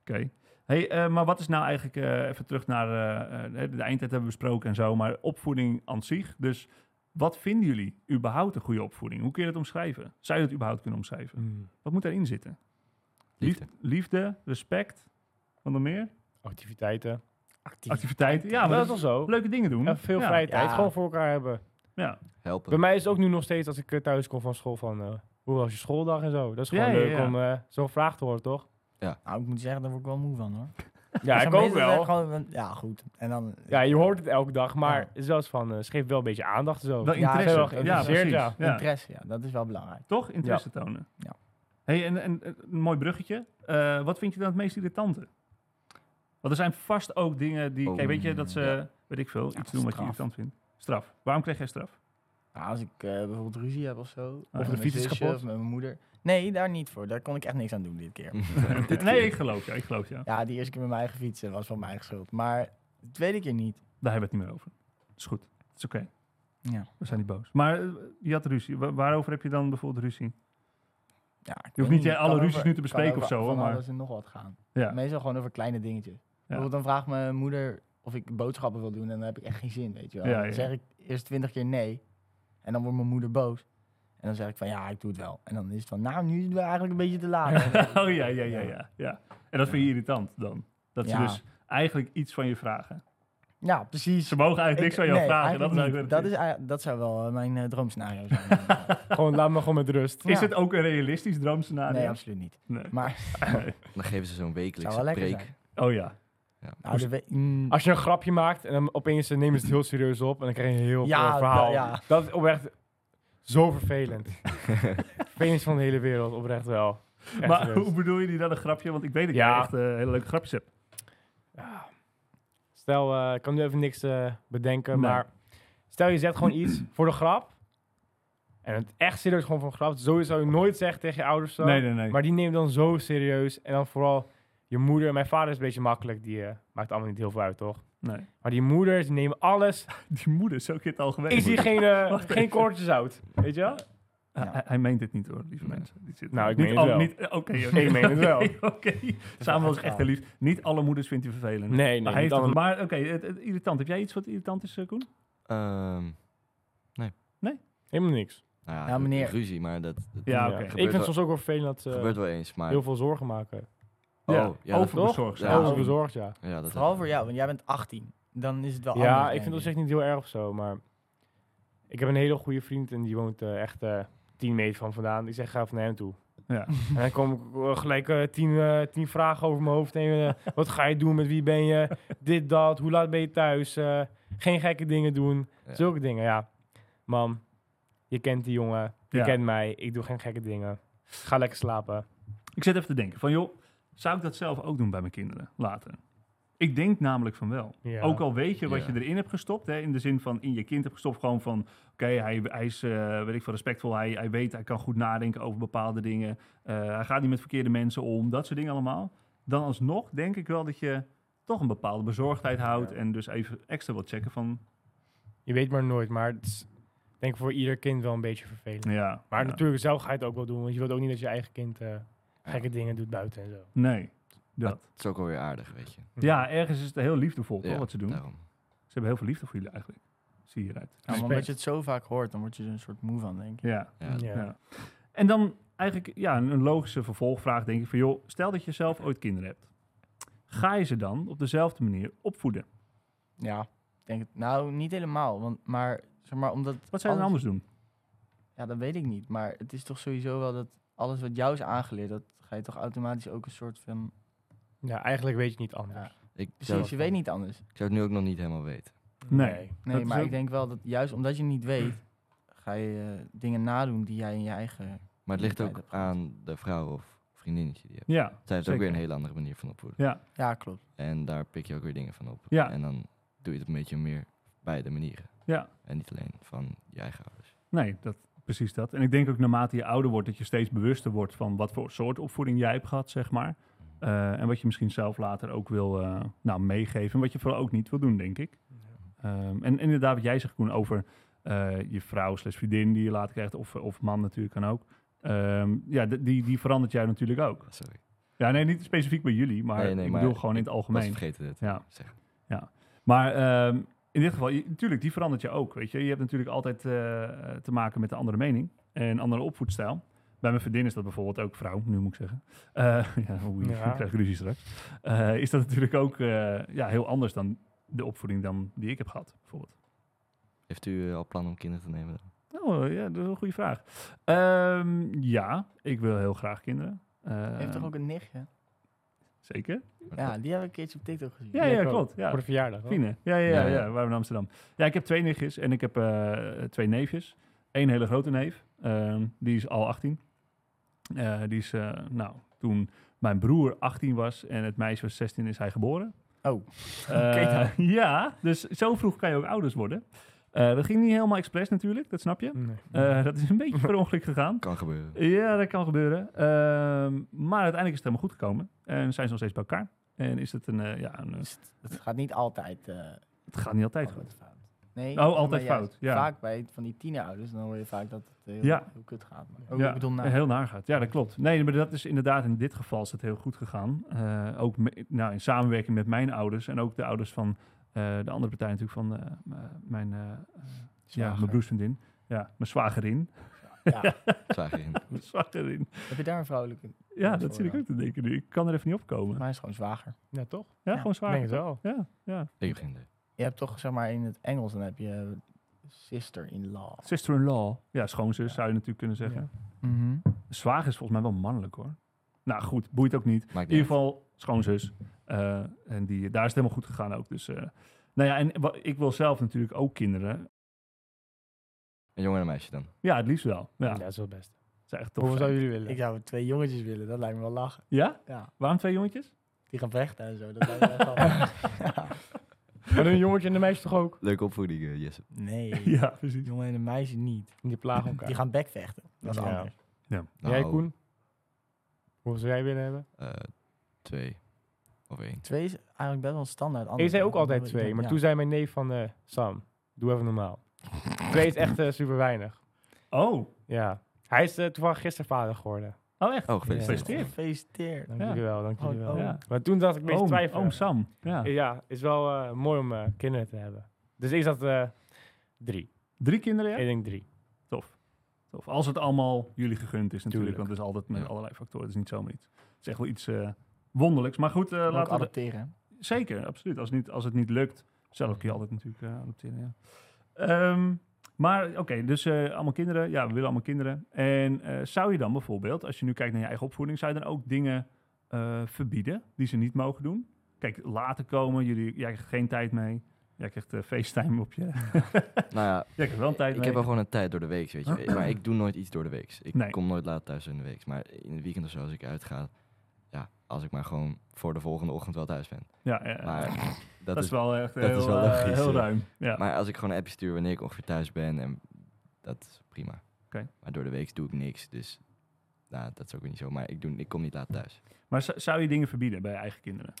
[SPEAKER 2] Oké. Hey, eh, maar wat is nou eigenlijk, eh, even terug naar eh, eh, de eindtijd hebben we besproken en zo, maar opvoeding aan zich. Dus wat vinden jullie überhaupt een goede opvoeding? Hoe kun je dat omschrijven? Zou je dat überhaupt kunnen omschrijven?
[SPEAKER 5] Mm.
[SPEAKER 2] Wat moet daarin zitten?
[SPEAKER 4] Liefde.
[SPEAKER 2] Lief- liefde, respect, wat nog meer?
[SPEAKER 5] Activiteiten.
[SPEAKER 3] actief.
[SPEAKER 2] Activiteiten. Ja, maar
[SPEAKER 5] dat
[SPEAKER 2] dat
[SPEAKER 5] is wel zo.
[SPEAKER 2] is leuke dingen doen.
[SPEAKER 5] En veel
[SPEAKER 2] ja.
[SPEAKER 5] vrije tijd
[SPEAKER 3] Ja.
[SPEAKER 5] gewoon voor elkaar hebben.
[SPEAKER 2] Ja.
[SPEAKER 4] Helpen.
[SPEAKER 5] Bij mij is het ook nu nog steeds als ik eh, thuis kom van school van... eh, Hoe was je schooldag en zo? Dat is
[SPEAKER 2] Ja,
[SPEAKER 5] gewoon
[SPEAKER 2] ja,
[SPEAKER 5] leuk
[SPEAKER 2] ja.
[SPEAKER 5] om eh, zo'n vraag te horen, toch?
[SPEAKER 3] Nou, ik moet zeggen, daar word ik wel moe van hoor.
[SPEAKER 5] Ja,
[SPEAKER 3] Zeg
[SPEAKER 5] ik
[SPEAKER 3] maar,
[SPEAKER 5] ook
[SPEAKER 3] is het
[SPEAKER 5] wel.
[SPEAKER 3] gewoon- ja, goed. En dan,
[SPEAKER 5] Ja, je hoort het elke dag, maar
[SPEAKER 3] Ja.
[SPEAKER 5] het is wel eens van, eh, ze geeft wel een beetje aandacht en zo.
[SPEAKER 2] Wel
[SPEAKER 3] Ja,
[SPEAKER 2] interesse.
[SPEAKER 3] ze
[SPEAKER 5] wel
[SPEAKER 2] Ja,
[SPEAKER 5] geïnteresseerd,
[SPEAKER 2] precies. Ja.
[SPEAKER 5] ja.
[SPEAKER 3] Interesse, ja, dat is wel belangrijk.
[SPEAKER 2] Toch? Interesse tonen.
[SPEAKER 3] Ja.
[SPEAKER 2] Hey, en, en eh, een mooi bruggetje. Eh, wat vind je dan het meest irritante? Want er zijn vast ook dingen die...
[SPEAKER 4] Oh,
[SPEAKER 2] kijk, weet je dat ze,
[SPEAKER 4] ja.
[SPEAKER 2] weet ik veel,
[SPEAKER 3] Ja,
[SPEAKER 2] iets doen wat je
[SPEAKER 3] straf.
[SPEAKER 2] irritant vindt? Straf. Waarom krijg jij straf?
[SPEAKER 3] Nou, als ik eh, bijvoorbeeld ruzie heb of zo.
[SPEAKER 2] de
[SPEAKER 3] met mijn
[SPEAKER 5] fiets is
[SPEAKER 3] zusje
[SPEAKER 5] kapot.
[SPEAKER 3] Of met mijn moeder. Nee, daar niet voor. Daar kon ik echt niks aan doen dit keer.
[SPEAKER 2] nee, ik geloof jou, ik geloof jou.
[SPEAKER 3] Ja, die eerste keer met mijn eigen fiets eh, was van mijn eigen schuld. Maar de tweede keer niet.
[SPEAKER 2] Daar hebben we het niet meer over. is goed. Het is oké.
[SPEAKER 3] Ja.
[SPEAKER 2] We zijn niet boos. Maar eh, je had ruzie. Wa- waarover heb je dan bijvoorbeeld ruzie?
[SPEAKER 3] Ja, ik
[SPEAKER 2] Je hoeft
[SPEAKER 3] weet
[SPEAKER 2] niet, eh,
[SPEAKER 3] het
[SPEAKER 2] alle
[SPEAKER 3] kan
[SPEAKER 2] ruzies
[SPEAKER 3] over-
[SPEAKER 2] nu te
[SPEAKER 3] kan
[SPEAKER 2] bespreken
[SPEAKER 3] over
[SPEAKER 2] of zo, hoor,
[SPEAKER 3] Van
[SPEAKER 2] maar-
[SPEAKER 3] alles en nog wat gaan.
[SPEAKER 2] Ja.
[SPEAKER 3] Meestal gewoon over kleine dingetjes. Bijvoorbeeld dan vraagt mijn moeder of ik boodschappen wil doen en dan heb ik echt geen zin, weet je wel.
[SPEAKER 2] Ja, ja.
[SPEAKER 3] Dan zeg ik eerst twintig keer nee en dan wordt mijn moeder boos. En dan zeg ik van ja, ik doe het wel. En dan is het van nou, nu is het wel eigenlijk een beetje te laat.
[SPEAKER 2] oh ja, ja, ja, ja, ja. En dat vind je irritant dan? Dat ze
[SPEAKER 3] Ja.
[SPEAKER 2] dus eigenlijk iets van je vragen.
[SPEAKER 3] ja, precies.
[SPEAKER 2] Ze mogen eigenlijk niks van jou
[SPEAKER 3] nee,
[SPEAKER 2] vragen. Dat is,
[SPEAKER 3] eigenlijk
[SPEAKER 2] eigenlijk wat
[SPEAKER 3] niet. dat,
[SPEAKER 2] het
[SPEAKER 3] is, eigenlijk- dat zou wel eh, mijn eh, droomscenario zijn.
[SPEAKER 5] Gewoon, laat me gewoon met rust.
[SPEAKER 2] is. Is
[SPEAKER 3] ja.
[SPEAKER 2] het ook een realistisch droomscenario?
[SPEAKER 3] nee, absoluut niet.
[SPEAKER 2] Nee.
[SPEAKER 3] Maar
[SPEAKER 4] Dan geven ze zo'n
[SPEAKER 3] zou
[SPEAKER 4] wekelijkse
[SPEAKER 3] wel lekker
[SPEAKER 4] preek.
[SPEAKER 3] zijn.
[SPEAKER 2] Oh ja.
[SPEAKER 3] Nou, de we- mm,
[SPEAKER 5] Als je een grapje maakt en dan opeens eh, nemen ze het heel serieus op en dan krijg je een heel
[SPEAKER 3] Ja,
[SPEAKER 5] groot verhaal.
[SPEAKER 3] da- ja.
[SPEAKER 5] Dat is oprecht zo vervelend. vervelend van de hele wereld, oprecht wel. Echt
[SPEAKER 2] maar
[SPEAKER 5] serieus.
[SPEAKER 2] hoe bedoel je die dan een grapje? Want ik weet dat
[SPEAKER 5] Ja.
[SPEAKER 2] jij echt eh, hele leuke grapjes hebt.
[SPEAKER 5] Stel, eh, ik kan nu even niks eh, bedenken,
[SPEAKER 2] Nee.
[SPEAKER 5] maar stel je zegt gewoon iets voor de grap. En het echt serieus gewoon voor een grap. Sowieso zou je nooit zeggen tegen je ouders zo.
[SPEAKER 2] Nee, nee, nee.
[SPEAKER 5] Maar die neemt dan zo serieus. En dan vooral je moeder. Mijn vader is een beetje makkelijk, die eh, maakt allemaal niet heel veel uit, toch?
[SPEAKER 2] nee.
[SPEAKER 5] Maar die moeders, die nemen alles.
[SPEAKER 2] Die moeder is ook in het algemeen.
[SPEAKER 5] Is hier geen, eh,
[SPEAKER 2] Wacht
[SPEAKER 5] geen
[SPEAKER 2] even.
[SPEAKER 5] kortjes zout, weet je wel?
[SPEAKER 2] Hij- hij, hij meent dit niet hoor, lieve
[SPEAKER 4] Nee.
[SPEAKER 2] mensen. Die zit
[SPEAKER 5] Nou, ik
[SPEAKER 2] niet
[SPEAKER 5] meen het
[SPEAKER 2] al-
[SPEAKER 5] wel.
[SPEAKER 2] niet- eh, Oké, oké.
[SPEAKER 5] Ik meen het wel.
[SPEAKER 2] Oké, Oké. Samuel is echt heel lief. Niet alle moeders vindt hij vervelend.
[SPEAKER 5] Nee, nee.
[SPEAKER 2] maar hij
[SPEAKER 5] niet
[SPEAKER 2] heeft het-
[SPEAKER 5] allemaal-
[SPEAKER 2] maar oké, het, het irritant. Heb jij iets wat irritant is, eh, Koen?
[SPEAKER 4] Ehm,
[SPEAKER 5] Helemaal niks.
[SPEAKER 4] nou ja,
[SPEAKER 3] Nou, meneer.
[SPEAKER 4] ruzie, maar dat, dat
[SPEAKER 2] Ja, oké.
[SPEAKER 5] Ja. Ik
[SPEAKER 4] Gebeurt
[SPEAKER 5] vind het
[SPEAKER 4] wel-
[SPEAKER 5] soms ook wel vervelend dat ze
[SPEAKER 4] gebeurt wel eens. Maar
[SPEAKER 5] heel veel zorgen maken.
[SPEAKER 2] Ja,
[SPEAKER 4] Oh, ja, dat-
[SPEAKER 2] overbezorgd
[SPEAKER 4] Ja,
[SPEAKER 5] Ja,
[SPEAKER 4] dat-
[SPEAKER 5] bezorgd, ja.
[SPEAKER 4] ja, dat
[SPEAKER 3] vooral voor jou, want jij bent 18. Dan is het wel
[SPEAKER 5] Ja,
[SPEAKER 3] anders,
[SPEAKER 5] ik vind
[SPEAKER 3] denk
[SPEAKER 5] dat echt niet heel erg of zo, maar ik heb een hele goede vriend en die woont eh, echt eh 10 meter van vandaan. Ik zeg, ga even naar hem toe.
[SPEAKER 2] Ja.
[SPEAKER 5] En dan kom ik eh, gelijk 10 tien, eh, tien vragen over mijn hoofd heen. eh, wat ga je doen? Met wie ben je? Dit, dat. Hoe laat ben je thuis? eh, geen gekke dingen doen.
[SPEAKER 4] Ja.
[SPEAKER 5] Zulke dingen, ja. Mam, je kent die jongen. Je
[SPEAKER 2] Ja.
[SPEAKER 5] kent mij. Ik doe geen gekke dingen. Ga lekker slapen.
[SPEAKER 2] Ik zit even te denken van, joh, zou ik dat zelf ook doen bij mijn kinderen later? Ik denk namelijk van wel.
[SPEAKER 5] Ja.
[SPEAKER 2] Ook al weet je wat
[SPEAKER 4] Ja.
[SPEAKER 2] je erin hebt gestopt, hè, in de zin van in je kind hebt gestopt, gewoon van, oké, hij, hij is, eh, weet ik veel, respectvol, hij, hij weet, hij kan goed nadenken over bepaalde dingen, eh, hij gaat niet met verkeerde mensen om, dat soort dingen allemaal. Dan alsnog denk ik wel dat je toch een bepaalde bezorgdheid houdt
[SPEAKER 5] Ja.
[SPEAKER 2] en dus even extra wilt checken van,
[SPEAKER 5] Je weet maar nooit, maar het is, ik denk voor ieder kind wel een beetje vervelend.
[SPEAKER 2] ja.
[SPEAKER 5] Maar
[SPEAKER 2] ja.
[SPEAKER 5] natuurlijk, zelf ga je het ook wel doen, want je wilt ook niet dat je eigen kind eh, gekke dingen doet buiten en zo. Hm.
[SPEAKER 2] Nee, dat.
[SPEAKER 4] Het is ook alweer aardig, weet je.
[SPEAKER 2] Ja, ergens is het heel liefdevol, toch,
[SPEAKER 4] Ja,
[SPEAKER 2] wat ze doen.
[SPEAKER 4] daarom.
[SPEAKER 2] Ze hebben heel veel liefde voor jullie eigenlijk. Zie je hieruit.
[SPEAKER 3] Ja, maar
[SPEAKER 2] Respect.
[SPEAKER 3] Nou, omdat je het zo vaak hoort, dan word je er een soort moe van, denk ik.
[SPEAKER 2] Ja.
[SPEAKER 4] Ja,
[SPEAKER 5] Ja.
[SPEAKER 2] Ja. En dan eigenlijk ja, een een logische vervolgvraag denk ik van... joh, stel dat je zelf ooit kinderen hebt. Ga je ze dan op dezelfde manier opvoeden?
[SPEAKER 3] Ja, ik denk het. Nou, niet helemaal, want, maar zeg maar omdat...
[SPEAKER 2] Wat zou je dan
[SPEAKER 3] alles-
[SPEAKER 2] anders doen?
[SPEAKER 3] Ja, dat weet ik niet, maar het is toch sowieso wel dat alles wat jou is aangeleerd, dat ga je toch automatisch ook een soort van...
[SPEAKER 5] Ja, eigenlijk weet je niet anders.
[SPEAKER 4] Ik zou,
[SPEAKER 3] Precies, je weet niet anders.
[SPEAKER 4] ik zou het nu ook nog niet helemaal weten.
[SPEAKER 2] Nee. Dat
[SPEAKER 3] Nee,
[SPEAKER 2] is
[SPEAKER 3] maar
[SPEAKER 2] ook-
[SPEAKER 3] ik denk wel dat juist omdat je niet weet, ga je eh, dingen nadoen die jij in je eigen...
[SPEAKER 4] Maar het ligt
[SPEAKER 3] Tijd
[SPEAKER 4] ook
[SPEAKER 3] heb gehad.
[SPEAKER 4] aan de vrouw of vriendinnetje die je hebt.
[SPEAKER 2] Ja,
[SPEAKER 4] Zij heeft ook
[SPEAKER 2] zeker.
[SPEAKER 4] weer een hele andere manier van opvoeden.
[SPEAKER 2] ja,
[SPEAKER 3] Ja, klopt.
[SPEAKER 4] En daar pik je ook weer dingen van op.
[SPEAKER 2] Ja.
[SPEAKER 4] En dan doe je het een beetje meer bij de manieren.
[SPEAKER 2] ja.
[SPEAKER 4] En niet alleen van je eigen ouders.
[SPEAKER 2] Nee, dat, precies dat. En ik denk ook naarmate je ouder wordt... dat je steeds bewuster wordt van wat voor soort opvoeding jij hebt gehad, zeg maar. Eh, en wat je misschien zelf later ook wil eh, nou, meegeven. En wat je vooral ook niet wil doen, denk ik. Ehm, en inderdaad, wat jij zegt, Koen, over eh, je vrouw slash vriendin die je later krijgt, of, of man natuurlijk kan ook. Ehm, ja, d- die, die verandert jou natuurlijk ook.
[SPEAKER 4] Ah, Sorry.
[SPEAKER 2] Ja, nee, niet specifiek bij jullie, maar
[SPEAKER 4] Nee, nee,
[SPEAKER 2] ik
[SPEAKER 4] maar
[SPEAKER 2] bedoel gewoon in het
[SPEAKER 4] Ik was
[SPEAKER 2] algemeen.
[SPEAKER 4] vergeten dit.
[SPEAKER 2] Ja.
[SPEAKER 4] Zeg.
[SPEAKER 2] ja. Maar ehm, in dit geval, je- natuurlijk, die verandert je ook, weet je. Je hebt natuurlijk altijd eh, eh, te maken met een andere mening en andere opvoedstijl. Bij mijn vriendin is dat bijvoorbeeld ook vrouw, nu moet ik zeggen. Eh, ja, oei,
[SPEAKER 5] Ja.
[SPEAKER 2] ik krijg ruzie straks. Eh, is dat natuurlijk ook eh, ja, heel anders dan de opvoeding dan die ik heb gehad, bijvoorbeeld.
[SPEAKER 4] Heeft u eh, al plan om kinderen te nemen? dan?
[SPEAKER 2] Oh ja, dat is een goede vraag. Ehm, ja, ik wil heel graag kinderen. Eh,
[SPEAKER 3] Heeft toch ook een nichtje?
[SPEAKER 2] Zeker?
[SPEAKER 4] Maar
[SPEAKER 3] Ja,
[SPEAKER 4] dat-
[SPEAKER 3] die heb ik een keertje op TikTok gezien.
[SPEAKER 2] Ja,
[SPEAKER 5] Ja,
[SPEAKER 2] ja,
[SPEAKER 5] klopt.
[SPEAKER 2] klopt. Ja.
[SPEAKER 5] Voor de verjaardag. hoor.
[SPEAKER 2] Fine. Ja, ja, ja,
[SPEAKER 4] Ja,
[SPEAKER 2] ja,
[SPEAKER 4] ja.
[SPEAKER 2] Waar we in Amsterdam. Ja, ik heb twee nichtjes en ik heb eh, twee neefjes. Eén hele grote neef. ehm, die is al 18. Eh, die is, eh, nou, toen mijn broer 18 was en het meisje was 16, is hij geboren.
[SPEAKER 3] Oh.
[SPEAKER 2] Eh,
[SPEAKER 3] Oké dan.
[SPEAKER 2] ja, dus zo vroeg kan je ook ouders worden. Eh, dat ging niet helemaal expres natuurlijk, dat snap je.
[SPEAKER 5] Nee.
[SPEAKER 2] Eh, dat is een beetje per ongeluk gegaan.
[SPEAKER 4] kan gebeuren.
[SPEAKER 2] Ja, dat kan gebeuren. Ehm, maar uiteindelijk is het helemaal goed gekomen. En zijn ze nog steeds bij elkaar. En is het een, eh, ja, een, eh,
[SPEAKER 3] Dus het- het gaat niet altijd, eh,
[SPEAKER 2] het gaat niet altijd goed.
[SPEAKER 3] altijd fout. Nee,
[SPEAKER 2] Oh,
[SPEAKER 3] zeg maar
[SPEAKER 2] altijd
[SPEAKER 3] juist
[SPEAKER 2] fout, ja.
[SPEAKER 3] Vaak bij van die tienerouders, dan hoor je vaak dat het heel,
[SPEAKER 2] Ja.
[SPEAKER 3] heel kut gaat. Maar ook,
[SPEAKER 2] ja,
[SPEAKER 3] ik bedoel, nou,
[SPEAKER 2] heel naar gaat. Ja, dat klopt. Nee, maar dat is inderdaad in dit geval is het heel goed gegaan. Eh, ook me- nou, in samenwerking met mijn ouders en ook de ouders van eh, de andere partij natuurlijk van eh, m- eh, mijn, eh, ja, mijn
[SPEAKER 3] zwager.
[SPEAKER 2] broersvriendin. Ja, mijn zwagerin.
[SPEAKER 3] Ja.
[SPEAKER 4] Zwaag in.
[SPEAKER 2] Mijn zwagerin.
[SPEAKER 3] Heb je daar een vrouwelijke?
[SPEAKER 2] Ja, dat zit ik ook te denken nu. Ik kan er even niet
[SPEAKER 3] Maar
[SPEAKER 2] opkomen.
[SPEAKER 3] hij is gewoon zwager.
[SPEAKER 5] Ja, toch?
[SPEAKER 2] Ja, gewoon
[SPEAKER 3] Ja,
[SPEAKER 5] Ik denk
[SPEAKER 2] zwager.
[SPEAKER 5] het wel.
[SPEAKER 2] Ja, ja.
[SPEAKER 4] Ik heb geen idee.
[SPEAKER 3] Je hebt toch, zeg maar, in het Engels, dan heb je eh, sister-in-law.
[SPEAKER 2] Sister-in-law. Ja, schoonzus zou je natuurlijk kunnen zeggen.
[SPEAKER 3] Mhm.
[SPEAKER 2] Zwager is volgens mij wel mannelijk hoor. Nou goed, boeit ook niet.
[SPEAKER 4] Maakt
[SPEAKER 2] In ieder
[SPEAKER 4] niet uit.
[SPEAKER 2] geval schoonzus. Eh, en die, daar is het helemaal goed gegaan ook. Dus, eh, nou ja, en wa- ik wil zelf natuurlijk ook kinderen.
[SPEAKER 4] Een jongen en een meisje dan.
[SPEAKER 2] Ja, het liefst wel. Ja,
[SPEAKER 5] Ja,
[SPEAKER 2] dat
[SPEAKER 5] dat is wel best.
[SPEAKER 2] is echt tof.
[SPEAKER 5] Hoeveel
[SPEAKER 2] zijn.
[SPEAKER 5] zouden jullie willen?
[SPEAKER 3] Ik zou twee jongetjes willen, dat lijkt me wel lachen.
[SPEAKER 2] Ja?
[SPEAKER 3] Ja,
[SPEAKER 2] Waarom twee jongetjes?
[SPEAKER 3] die gaan vechten en zo. Dat lijkt me wel grappig.
[SPEAKER 5] Maar een jongetje en een meisje toch ook?
[SPEAKER 4] Leuke opvoeding, eh, Jesse.
[SPEAKER 3] Nee,
[SPEAKER 2] Ja, precies.
[SPEAKER 3] jongen en een meisje niet.
[SPEAKER 5] Die plagen elkaar.
[SPEAKER 3] Die gaan bekvechten. Dat is
[SPEAKER 5] Ja.
[SPEAKER 3] anders.
[SPEAKER 4] Nou,
[SPEAKER 5] Jij, Koen? Hoeveel zou jij willen hebben?
[SPEAKER 4] eh, twee. Of één.
[SPEAKER 3] Twee is eigenlijk best wel standaard.
[SPEAKER 5] Ik
[SPEAKER 3] antwoord.
[SPEAKER 5] zei ook
[SPEAKER 3] Dat
[SPEAKER 5] altijd
[SPEAKER 3] wil ik
[SPEAKER 5] twee,
[SPEAKER 3] ook,
[SPEAKER 5] maar
[SPEAKER 3] ja.
[SPEAKER 5] toen zei mijn neef van eh, Sam, doe even normaal. twee is echt eh, super weinig.
[SPEAKER 2] Oh,
[SPEAKER 5] Ja. Hij is eh, toevallig gisteren vader geworden.
[SPEAKER 2] oh echt?
[SPEAKER 4] Oh, gefeliciteerd.
[SPEAKER 2] Gefeliciteerd.
[SPEAKER 3] Gefeliciteerd.
[SPEAKER 5] Dank
[SPEAKER 2] Ja.
[SPEAKER 5] jullie wel, dank jullie
[SPEAKER 3] Oh,
[SPEAKER 5] wel.
[SPEAKER 3] oh.
[SPEAKER 2] Ja.
[SPEAKER 5] Maar toen dacht ik meest
[SPEAKER 2] Oom,
[SPEAKER 5] twijfelen.
[SPEAKER 2] oom Sam. Ja.
[SPEAKER 5] Ja, is wel eh, mooi om eh, kinderen te hebben. Dus ik zat eh, drie.
[SPEAKER 2] Drie kinderen, ja?
[SPEAKER 5] Ik denk drie.
[SPEAKER 2] Tof. Tof. Als het allemaal jullie gegund is natuurlijk.
[SPEAKER 5] Tuurlijk.
[SPEAKER 2] Want het is altijd met
[SPEAKER 4] Ja.
[SPEAKER 2] allerlei factoren. Het is niet zomaar iets. Het is echt wel iets eh, wonderlijks. Maar goed, eh,
[SPEAKER 3] Ook
[SPEAKER 2] laten we...
[SPEAKER 3] adopteren.
[SPEAKER 2] Zeker, absoluut. Als, niet, als het niet lukt, zelf kun je altijd natuurlijk eh, adopteren. Ja. Ehm, maar oké, dus eh, allemaal kinderen. Ja, we willen allemaal kinderen. En eh, zou je dan bijvoorbeeld, als je nu kijkt naar je eigen opvoeding, zou je dan ook dingen eh, verbieden die ze niet mogen doen? Kijk, later komen, jullie, jij krijgt geen tijd mee. Jij krijgt eh, FaceTime op je.
[SPEAKER 4] Nou ja,
[SPEAKER 2] jij krijgt wel een tijd
[SPEAKER 4] ik
[SPEAKER 2] mee.
[SPEAKER 4] heb wel gewoon een tijd door de week, weet je. Maar ik doe nooit iets door de week. Ik
[SPEAKER 2] Nee.
[SPEAKER 4] kom nooit laat thuis in de week. Maar in het weekend of zo, als ik uitga, ja, als ik maar gewoon voor de volgende ochtend wel thuis ben.
[SPEAKER 2] ja, ja, ja.
[SPEAKER 4] Maar
[SPEAKER 2] dat,
[SPEAKER 4] dat, is,
[SPEAKER 2] is wel echt
[SPEAKER 4] dat
[SPEAKER 2] heel,
[SPEAKER 4] is wel
[SPEAKER 2] eh,
[SPEAKER 4] logisch,
[SPEAKER 2] heel
[SPEAKER 4] ja.
[SPEAKER 2] ruim. Ja.
[SPEAKER 4] Maar als ik gewoon een appje stuur wanneer ik ongeveer thuis ben, en dat is prima.
[SPEAKER 2] Oké.
[SPEAKER 4] Maar door de week doe ik niks, dus nou, dat is ook weer niet zo. Maar ik, doe, ik kom niet laat thuis.
[SPEAKER 2] Maar zou- zou je dingen verbieden bij je eigen kinderen?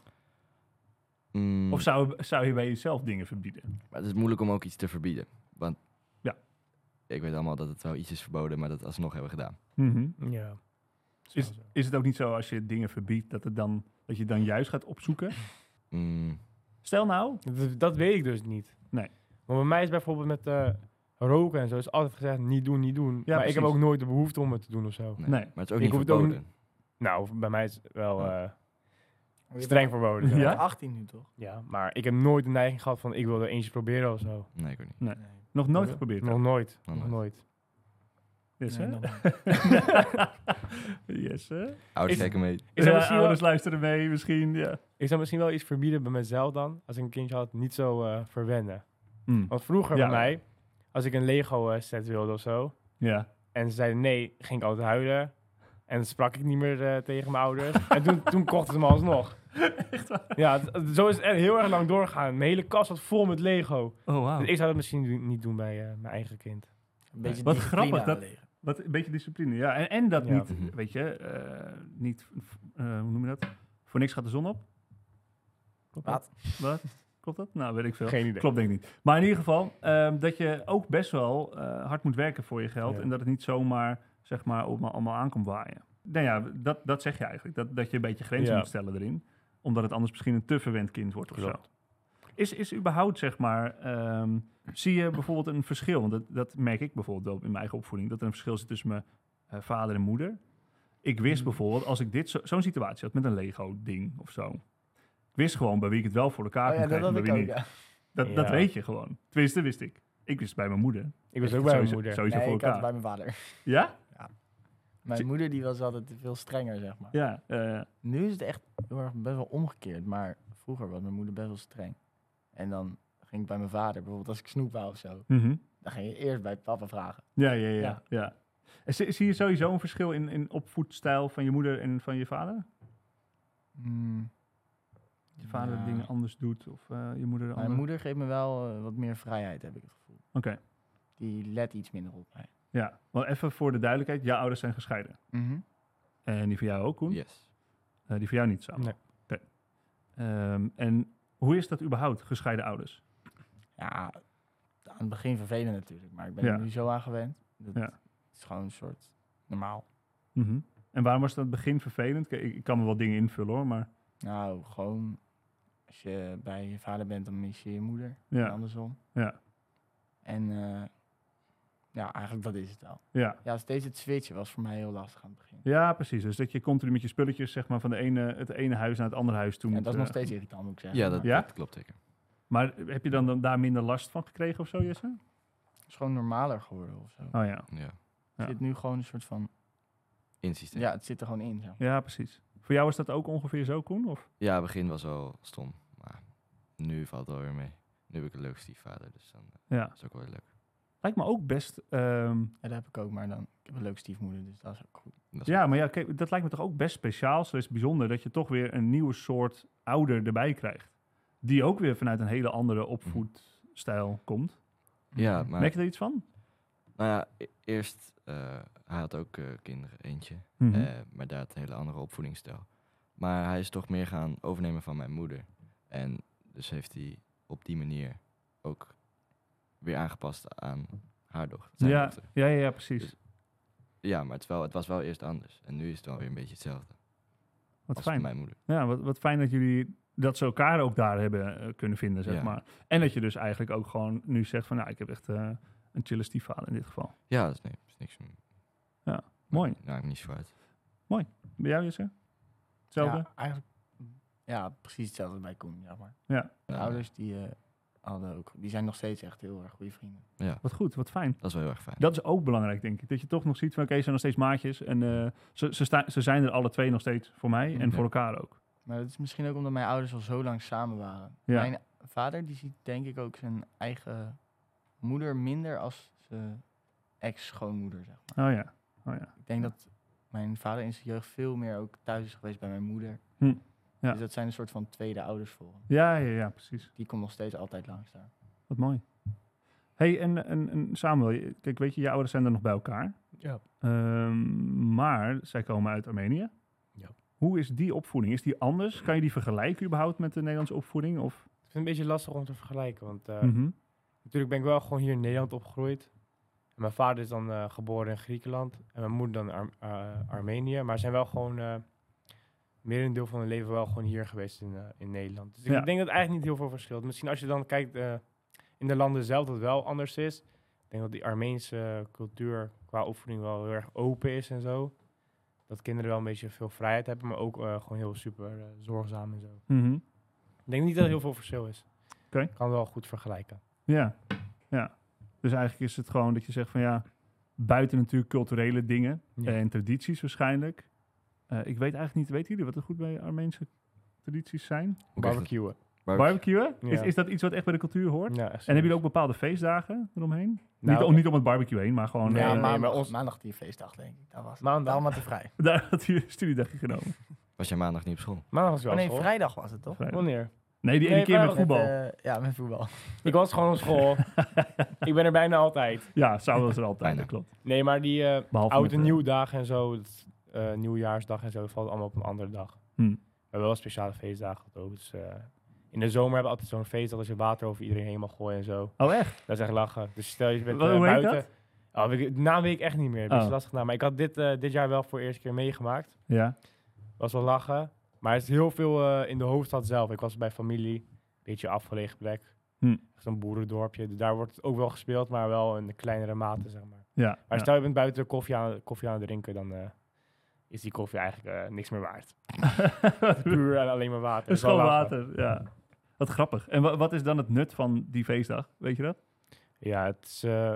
[SPEAKER 4] Mm,
[SPEAKER 2] Of zou, zou je bij jezelf dingen verbieden?
[SPEAKER 4] maar het is moeilijk om ook iets te verbieden. Want
[SPEAKER 2] Ja.
[SPEAKER 4] ik weet allemaal dat het wel iets is verboden, maar dat alsnog hebben we gedaan.
[SPEAKER 2] Mhm.
[SPEAKER 5] Ja.
[SPEAKER 2] Is,
[SPEAKER 5] Zo, zo.
[SPEAKER 2] is het ook niet zo als je dingen verbiedt dat, het dan, dat je dan juist gaat opzoeken?
[SPEAKER 4] Mm,
[SPEAKER 2] Stel nou,
[SPEAKER 5] Dat, dat weet ik dus niet.
[SPEAKER 2] Nee.
[SPEAKER 5] Maar bij mij is bijvoorbeeld met eh, roken en zo is altijd gezegd niet doen, niet doen. maar ik heb
[SPEAKER 2] precies.
[SPEAKER 5] ook nooit de behoefte om het te doen of zo.
[SPEAKER 4] nee.
[SPEAKER 2] Nee.
[SPEAKER 4] Maar het is ook
[SPEAKER 5] Ik
[SPEAKER 4] niet
[SPEAKER 5] hoef het ook
[SPEAKER 4] verboden.
[SPEAKER 5] Nou, bij mij is het wel
[SPEAKER 4] Ja.
[SPEAKER 5] eh,
[SPEAKER 3] Je
[SPEAKER 5] streng
[SPEAKER 3] bent-
[SPEAKER 5] verboden.
[SPEAKER 3] je
[SPEAKER 5] Ja.
[SPEAKER 2] Ja.
[SPEAKER 3] bent 18 nu toch?
[SPEAKER 5] ja. Maar ik heb nooit de neiging gehad van ik wil er eentje proberen of zo.
[SPEAKER 4] Nee, ik ook niet.
[SPEAKER 2] Nee. nog nooit
[SPEAKER 3] Ja.
[SPEAKER 2] geprobeerd.
[SPEAKER 5] Nog nooit.
[SPEAKER 4] Nog
[SPEAKER 5] Nog
[SPEAKER 4] nooit.
[SPEAKER 5] nooit.
[SPEAKER 2] Yes,
[SPEAKER 3] Nee,
[SPEAKER 2] hè?
[SPEAKER 3] nog niet.
[SPEAKER 2] yes, hè?
[SPEAKER 4] Ouders
[SPEAKER 5] Is-
[SPEAKER 4] kijken mee.
[SPEAKER 5] Ik zou,
[SPEAKER 2] Ja,
[SPEAKER 5] misschien wel,
[SPEAKER 2] ouders luisteren mee, misschien. Ja.
[SPEAKER 5] ik zou misschien wel iets verbieden bij mezelf dan. Als ik een kindje had, niet zo eh, verwennen.
[SPEAKER 2] Hm,
[SPEAKER 5] Want vroeger
[SPEAKER 2] Ja.
[SPEAKER 5] bij mij, als ik een Lego eh, set wilde of zo.
[SPEAKER 2] ja.
[SPEAKER 5] En ze zeiden nee, ging ik altijd huilen. En dan sprak ik niet meer eh, tegen mijn ouders. en toen, toen kochten ze me alsnog. Ja, het- het- zo is het echt heel erg lang doorgegaan. Mijn hele kast zat vol met Lego.
[SPEAKER 2] Oh, wauw.
[SPEAKER 5] Dus ik zou dat misschien du- niet doen bij eh, mijn eigen kind.
[SPEAKER 3] Een beetje
[SPEAKER 2] Wat
[SPEAKER 3] discipline
[SPEAKER 2] grappig dat-
[SPEAKER 3] aanleggen.
[SPEAKER 2] Wat een beetje discipline, ja. En, en dat
[SPEAKER 5] Ja.
[SPEAKER 2] niet, weet je, eh, niet, eh, hoe noem je dat? Voor niks gaat de zon op. Klopt dat? Wat? Klopt dat? Nou, weet ik veel.
[SPEAKER 5] Geen idee.
[SPEAKER 2] Klopt denk ik niet. Maar in ieder geval, ehm, dat je ook best wel eh, hard moet werken voor je geld.
[SPEAKER 5] Ja.
[SPEAKER 2] En dat het niet zomaar, zeg maar, allemaal, allemaal aan komt waaien. Nou ja, dat, dat zeg je eigenlijk. Dat, dat je een beetje grenzen
[SPEAKER 5] Ja.
[SPEAKER 2] moet stellen erin. Omdat het anders misschien een te verwend kind wordt of
[SPEAKER 5] Klopt.
[SPEAKER 2] zo. Is, is überhaupt, zeg maar, ehm, zie je bijvoorbeeld een verschil? Want dat, dat merk ik bijvoorbeeld wel in mijn eigen opvoeding. Dat er een verschil zit tussen mijn eh, vader en moeder. Ik wist
[SPEAKER 3] Mhm.
[SPEAKER 2] bijvoorbeeld, als ik dit zo- zo'n situatie had met een Lego-ding of zo. Ik wist gewoon bij wie ik het wel voor elkaar
[SPEAKER 3] Oh
[SPEAKER 2] kon
[SPEAKER 3] ja, dat
[SPEAKER 2] krijgen en
[SPEAKER 3] had
[SPEAKER 2] bij
[SPEAKER 3] ik
[SPEAKER 2] wie
[SPEAKER 3] ook,
[SPEAKER 2] niet.
[SPEAKER 3] ja.
[SPEAKER 2] Dat, dat
[SPEAKER 5] Ja.
[SPEAKER 2] weet je gewoon. Tenminste, wist ik. Ik wist bij mijn moeder.
[SPEAKER 5] Ik was
[SPEAKER 2] Ik
[SPEAKER 5] ook bij mijn
[SPEAKER 2] sowieso-
[SPEAKER 5] moeder.
[SPEAKER 2] Sowieso
[SPEAKER 3] nee,
[SPEAKER 2] voor
[SPEAKER 3] ik had het
[SPEAKER 2] elkaar.
[SPEAKER 3] bij mijn vader.
[SPEAKER 2] Ja?
[SPEAKER 3] Mijn moeder die was altijd veel strenger, zeg maar.
[SPEAKER 2] Ja. eh,
[SPEAKER 3] Nu is het echt heel erg best wel omgekeerd. Maar vroeger was mijn moeder best wel streng. En dan ging ik bij mijn vader, bijvoorbeeld als ik snoep wou of zo.
[SPEAKER 2] mhm.
[SPEAKER 3] Dan ging je eerst bij papa vragen.
[SPEAKER 2] ja, ja, ja, ja.
[SPEAKER 3] Ja.
[SPEAKER 2] En zie, zie je sowieso een verschil in, in opvoedstijl van je moeder en van je vader?
[SPEAKER 3] Mm,
[SPEAKER 2] Hmm. Je vader
[SPEAKER 3] ja.
[SPEAKER 2] dingen anders doet of eh, je moeder
[SPEAKER 3] Mijn
[SPEAKER 2] anders.
[SPEAKER 3] moeder geeft me wel eh, wat meer vrijheid, heb ik het gevoel.
[SPEAKER 2] Oké,
[SPEAKER 3] Die let iets minder op mij.
[SPEAKER 2] ja. Wel even voor de duidelijkheid, jouw ouders zijn gescheiden.
[SPEAKER 3] Mhm.
[SPEAKER 2] En die van jou ook, Koen?
[SPEAKER 4] Yes.
[SPEAKER 2] Eh, die van jou niet samen?
[SPEAKER 5] Nee.
[SPEAKER 2] Oké. Ehm, en hoe is dat überhaupt, gescheiden ouders?
[SPEAKER 3] Ja, aan het begin vervelend natuurlijk. Maar ik ben
[SPEAKER 2] Ja.
[SPEAKER 3] er nu zo aan gewend. Dat
[SPEAKER 2] Ja.
[SPEAKER 3] is gewoon een soort normaal.
[SPEAKER 2] Mhm. En waarom was dat in het begin vervelend? Kijk, Ik, ik kan me wel dingen invullen hoor, maar
[SPEAKER 3] Nou, gewoon als je bij je vader bent, dan mis je je moeder.
[SPEAKER 2] Ja.
[SPEAKER 3] En andersom.
[SPEAKER 2] Ja.
[SPEAKER 3] En eh, ja, eigenlijk dat is het wel.
[SPEAKER 2] ja.
[SPEAKER 3] Ja, steeds het switchen was voor mij heel lastig aan het begin.
[SPEAKER 2] Ja, precies. Dus dat je continu met je spulletjes zeg maar, van de ene, het ene huis naar het andere huis toe
[SPEAKER 3] En
[SPEAKER 2] moet.
[SPEAKER 3] dat is nog
[SPEAKER 2] eh.
[SPEAKER 3] steeds irritant, moet ik zeggen.
[SPEAKER 4] Ja, dat,
[SPEAKER 3] Maar
[SPEAKER 2] Ja?
[SPEAKER 4] dat klopt zeker.
[SPEAKER 2] Maar heb je dan, dan daar minder last van gekregen of zo, Jesse?
[SPEAKER 3] Het is gewoon normaler geworden of zo.
[SPEAKER 2] Oh ja.
[SPEAKER 4] Ja.
[SPEAKER 2] ja.
[SPEAKER 3] Het zit nu gewoon een soort van...
[SPEAKER 4] In het systeem.
[SPEAKER 3] Ja, het zit er gewoon in. Zo.
[SPEAKER 2] Ja, precies. Voor jou is dat ook ongeveer zo, Koen? Of?
[SPEAKER 4] Ja, begin was wel stom. Maar nu valt het wel weer mee. Nu heb ik een leuk stiefvader, dus dan eh,
[SPEAKER 2] Ja.
[SPEAKER 4] is het ook wel weer leuk.
[SPEAKER 2] Lijkt me ook best... ehm,
[SPEAKER 3] Ja, dat heb ik ook, maar dan... Ik heb een leuke stiefmoeder, dus dat is ook goed.
[SPEAKER 4] Dat is
[SPEAKER 2] ja, maar ja, kijk, dat lijkt me toch ook best speciaal, slechts bijzonder, dat je toch weer een nieuwe soort ouder erbij krijgt. Die ook weer vanuit een hele andere opvoedstijl komt.
[SPEAKER 4] Ja, maar
[SPEAKER 2] Merk je er iets van?
[SPEAKER 4] nou ja, e- eerst, eh, hij had ook eh, kinderen, eentje.
[SPEAKER 2] Mhm.
[SPEAKER 4] Eh, maar daar had een hele andere opvoedingsstijl. Maar hij is toch meer gaan overnemen van mijn moeder. En dus heeft hij op die manier ook weer aangepast aan haar doch- zijn
[SPEAKER 2] ja,
[SPEAKER 4] dochter.
[SPEAKER 2] ja, ja, ja, precies.
[SPEAKER 4] Dus- Ja, maar het, is wel, het was wel eerst anders. En nu is het wel weer een beetje hetzelfde
[SPEAKER 2] Wat
[SPEAKER 4] als
[SPEAKER 2] fijn.
[SPEAKER 4] mijn moeder.
[SPEAKER 2] Ja, wat, wat fijn dat jullie dat ze elkaar ook daar hebben eh, kunnen vinden, zeg
[SPEAKER 4] Ja.
[SPEAKER 2] maar. En dat je dus eigenlijk ook gewoon nu zegt van, nou, ik heb echt eh, een chille stiefvader in dit geval.
[SPEAKER 4] Ja, dat is, nee, dat is niks.
[SPEAKER 2] Mooi.
[SPEAKER 4] Nou, ik niet zo uit.
[SPEAKER 2] Bij jou, Jesse? Hetzelfde?
[SPEAKER 3] Ja, eigenlijk... Ja, precies hetzelfde bij Koen, ja maar.
[SPEAKER 4] Ja,
[SPEAKER 3] Mijn
[SPEAKER 4] dus-
[SPEAKER 3] ouders, die, eh, hadden ook, die zijn nog steeds echt heel erg goede vrienden.
[SPEAKER 2] Wat goed, wat fijn.
[SPEAKER 4] Dat is wel heel erg fijn.
[SPEAKER 2] Dat is ook belangrijk, denk ik. Dat je toch nog ziet van, oké, ze zijn nog steeds maatjes. En eh, ze, ze, sta- ze zijn er alle twee nog steeds voor mij en
[SPEAKER 4] Ja.
[SPEAKER 2] voor elkaar ook.
[SPEAKER 3] Maar dat is misschien ook omdat mijn ouders al zo lang samen waren.
[SPEAKER 2] Ja.
[SPEAKER 3] Mijn vader die ziet denk ik ook zijn eigen moeder minder als zijn ex-schoonmoeder. Zeg maar.
[SPEAKER 2] Oh ja, oh ja.
[SPEAKER 3] Ik denk dat mijn vader in zijn jeugd veel meer ook thuis is geweest bij mijn moeder.
[SPEAKER 2] Hm, ja.
[SPEAKER 3] Dus dat zijn een soort van tweede ouders voor hem.
[SPEAKER 2] Ja, ja, ja, precies.
[SPEAKER 3] Die komt nog steeds altijd langs daar.
[SPEAKER 2] Wat mooi. hey, en, en, en Samuel, je- kijk, weet je, je ouders zijn er nog bij elkaar.
[SPEAKER 5] Ja.
[SPEAKER 2] Ehm, maar zij komen uit Armenië.
[SPEAKER 5] Ja.
[SPEAKER 2] Hoe is die opvoeding? Is die anders? Kan je die vergelijken überhaupt met de Nederlandse opvoeding? Of?
[SPEAKER 5] Ik vind het een beetje lastig om te vergelijken, want eh,
[SPEAKER 2] Mhm.
[SPEAKER 5] natuurlijk ben ik wel gewoon hier in Nederland opgegroeid. En mijn vader is dan eh, geboren in Griekenland en mijn moeder dan Ar- eh, Armenië. Maar zijn wel gewoon, eh merendeel van hun leven wel gewoon hier geweest in, eh, in Nederland. Dus
[SPEAKER 2] Ja.
[SPEAKER 5] ik denk dat het eigenlijk niet heel veel verschilt. Misschien als je dan kijkt eh, in de landen zelf dat het wel anders is. Ik denk dat die Armeense cultuur qua opvoeding wel heel erg open is en zo. Dat kinderen wel een beetje veel vrijheid hebben, maar ook eh, gewoon heel super eh, zorgzaam en zo.
[SPEAKER 2] Mhm.
[SPEAKER 5] Ik denk niet dat er heel veel verschil is.
[SPEAKER 2] Oké.
[SPEAKER 5] Ik kan wel goed vergelijken.
[SPEAKER 2] Ja. ja. Dus eigenlijk is het gewoon dat je zegt van ja, buiten natuurlijk culturele dingen
[SPEAKER 5] Ja.
[SPEAKER 2] en tradities waarschijnlijk. Eh, ik weet eigenlijk niet, weten jullie wat er goed bij Armeense tradities zijn?
[SPEAKER 4] Hoe krijg je dat-
[SPEAKER 5] Barbecuen.
[SPEAKER 4] barbecue?
[SPEAKER 2] Barbecuen? Is,
[SPEAKER 5] Ja.
[SPEAKER 2] is dat iets wat echt bij de cultuur hoort?
[SPEAKER 5] Ja,
[SPEAKER 2] En hebben jullie ook bepaalde feestdagen eromheen?
[SPEAKER 5] Nou,
[SPEAKER 2] niet, om, niet om het barbecue heen, maar gewoon...
[SPEAKER 5] Nee,
[SPEAKER 3] ja,
[SPEAKER 2] eh,
[SPEAKER 5] maar-
[SPEAKER 3] maandag,
[SPEAKER 5] ons-
[SPEAKER 3] maandag die feestdag denk ik. Dat was het.
[SPEAKER 5] Maandag.
[SPEAKER 3] Daarom had hij vrij.
[SPEAKER 2] Daar had je een studiedagje genomen.
[SPEAKER 4] Was jij maandag niet op school?
[SPEAKER 5] Maandag was wel
[SPEAKER 3] Oh nee,
[SPEAKER 5] school.
[SPEAKER 3] vrijdag was het toch?
[SPEAKER 5] Wanneer?
[SPEAKER 2] Nee, die ene keer
[SPEAKER 5] Nee,
[SPEAKER 2] met
[SPEAKER 5] vrijdag
[SPEAKER 2] voetbal.
[SPEAKER 3] Met, eh, ja, met voetbal.
[SPEAKER 5] Ik was gewoon op school. ik ben er bijna altijd.
[SPEAKER 2] Ja, Samuel is er altijd,
[SPEAKER 4] Bijna.
[SPEAKER 2] dat klopt.
[SPEAKER 5] Nee, maar die eh
[SPEAKER 2] Behalve
[SPEAKER 5] oud en
[SPEAKER 2] met, eh,
[SPEAKER 5] nieuwdagen en zo, dat, eh, nieuwjaarsdag en zo, valt allemaal op een andere dag.
[SPEAKER 2] Hmm.
[SPEAKER 5] We hebben wel speciale feestdagen ook. Dus, eh, in de zomer hebben we altijd zo'n feest dat als je water over iedereen heen mag gooien en zo.
[SPEAKER 2] Oh, echt?
[SPEAKER 5] Dat is echt lachen. Dus stel je bent
[SPEAKER 2] Wa-
[SPEAKER 5] eh,
[SPEAKER 2] hoe heet
[SPEAKER 5] buiten. Oh, weet ik, de naam weet ik echt niet meer. Dat is
[SPEAKER 2] Oh.
[SPEAKER 5] lastig naam. Maar ik had dit, eh, dit jaar wel voor de eerste keer meegemaakt.
[SPEAKER 2] Ja.
[SPEAKER 5] was wel lachen. Maar het is heel veel eh, in de hoofdstad zelf. Ik was bij familie, beetje afgelegen plek.
[SPEAKER 2] Hm.
[SPEAKER 5] Zo'n boerendorpje. Dus daar wordt het ook wel gespeeld, maar wel in de kleinere mate, zeg maar.
[SPEAKER 2] Ja,
[SPEAKER 5] Maar
[SPEAKER 2] ja.
[SPEAKER 5] stel je bent buiten koffie aan, koffie aan het drinken, dan eh, is die koffie eigenlijk eh, niks meer waard. Puur en alleen maar water.
[SPEAKER 2] Een
[SPEAKER 5] Dus wel
[SPEAKER 2] schoon
[SPEAKER 5] lachen.
[SPEAKER 2] water, ja. Wat grappig. En wa- wat is dan het nut van die feestdag? Weet je dat?
[SPEAKER 5] Ja, het is, eh,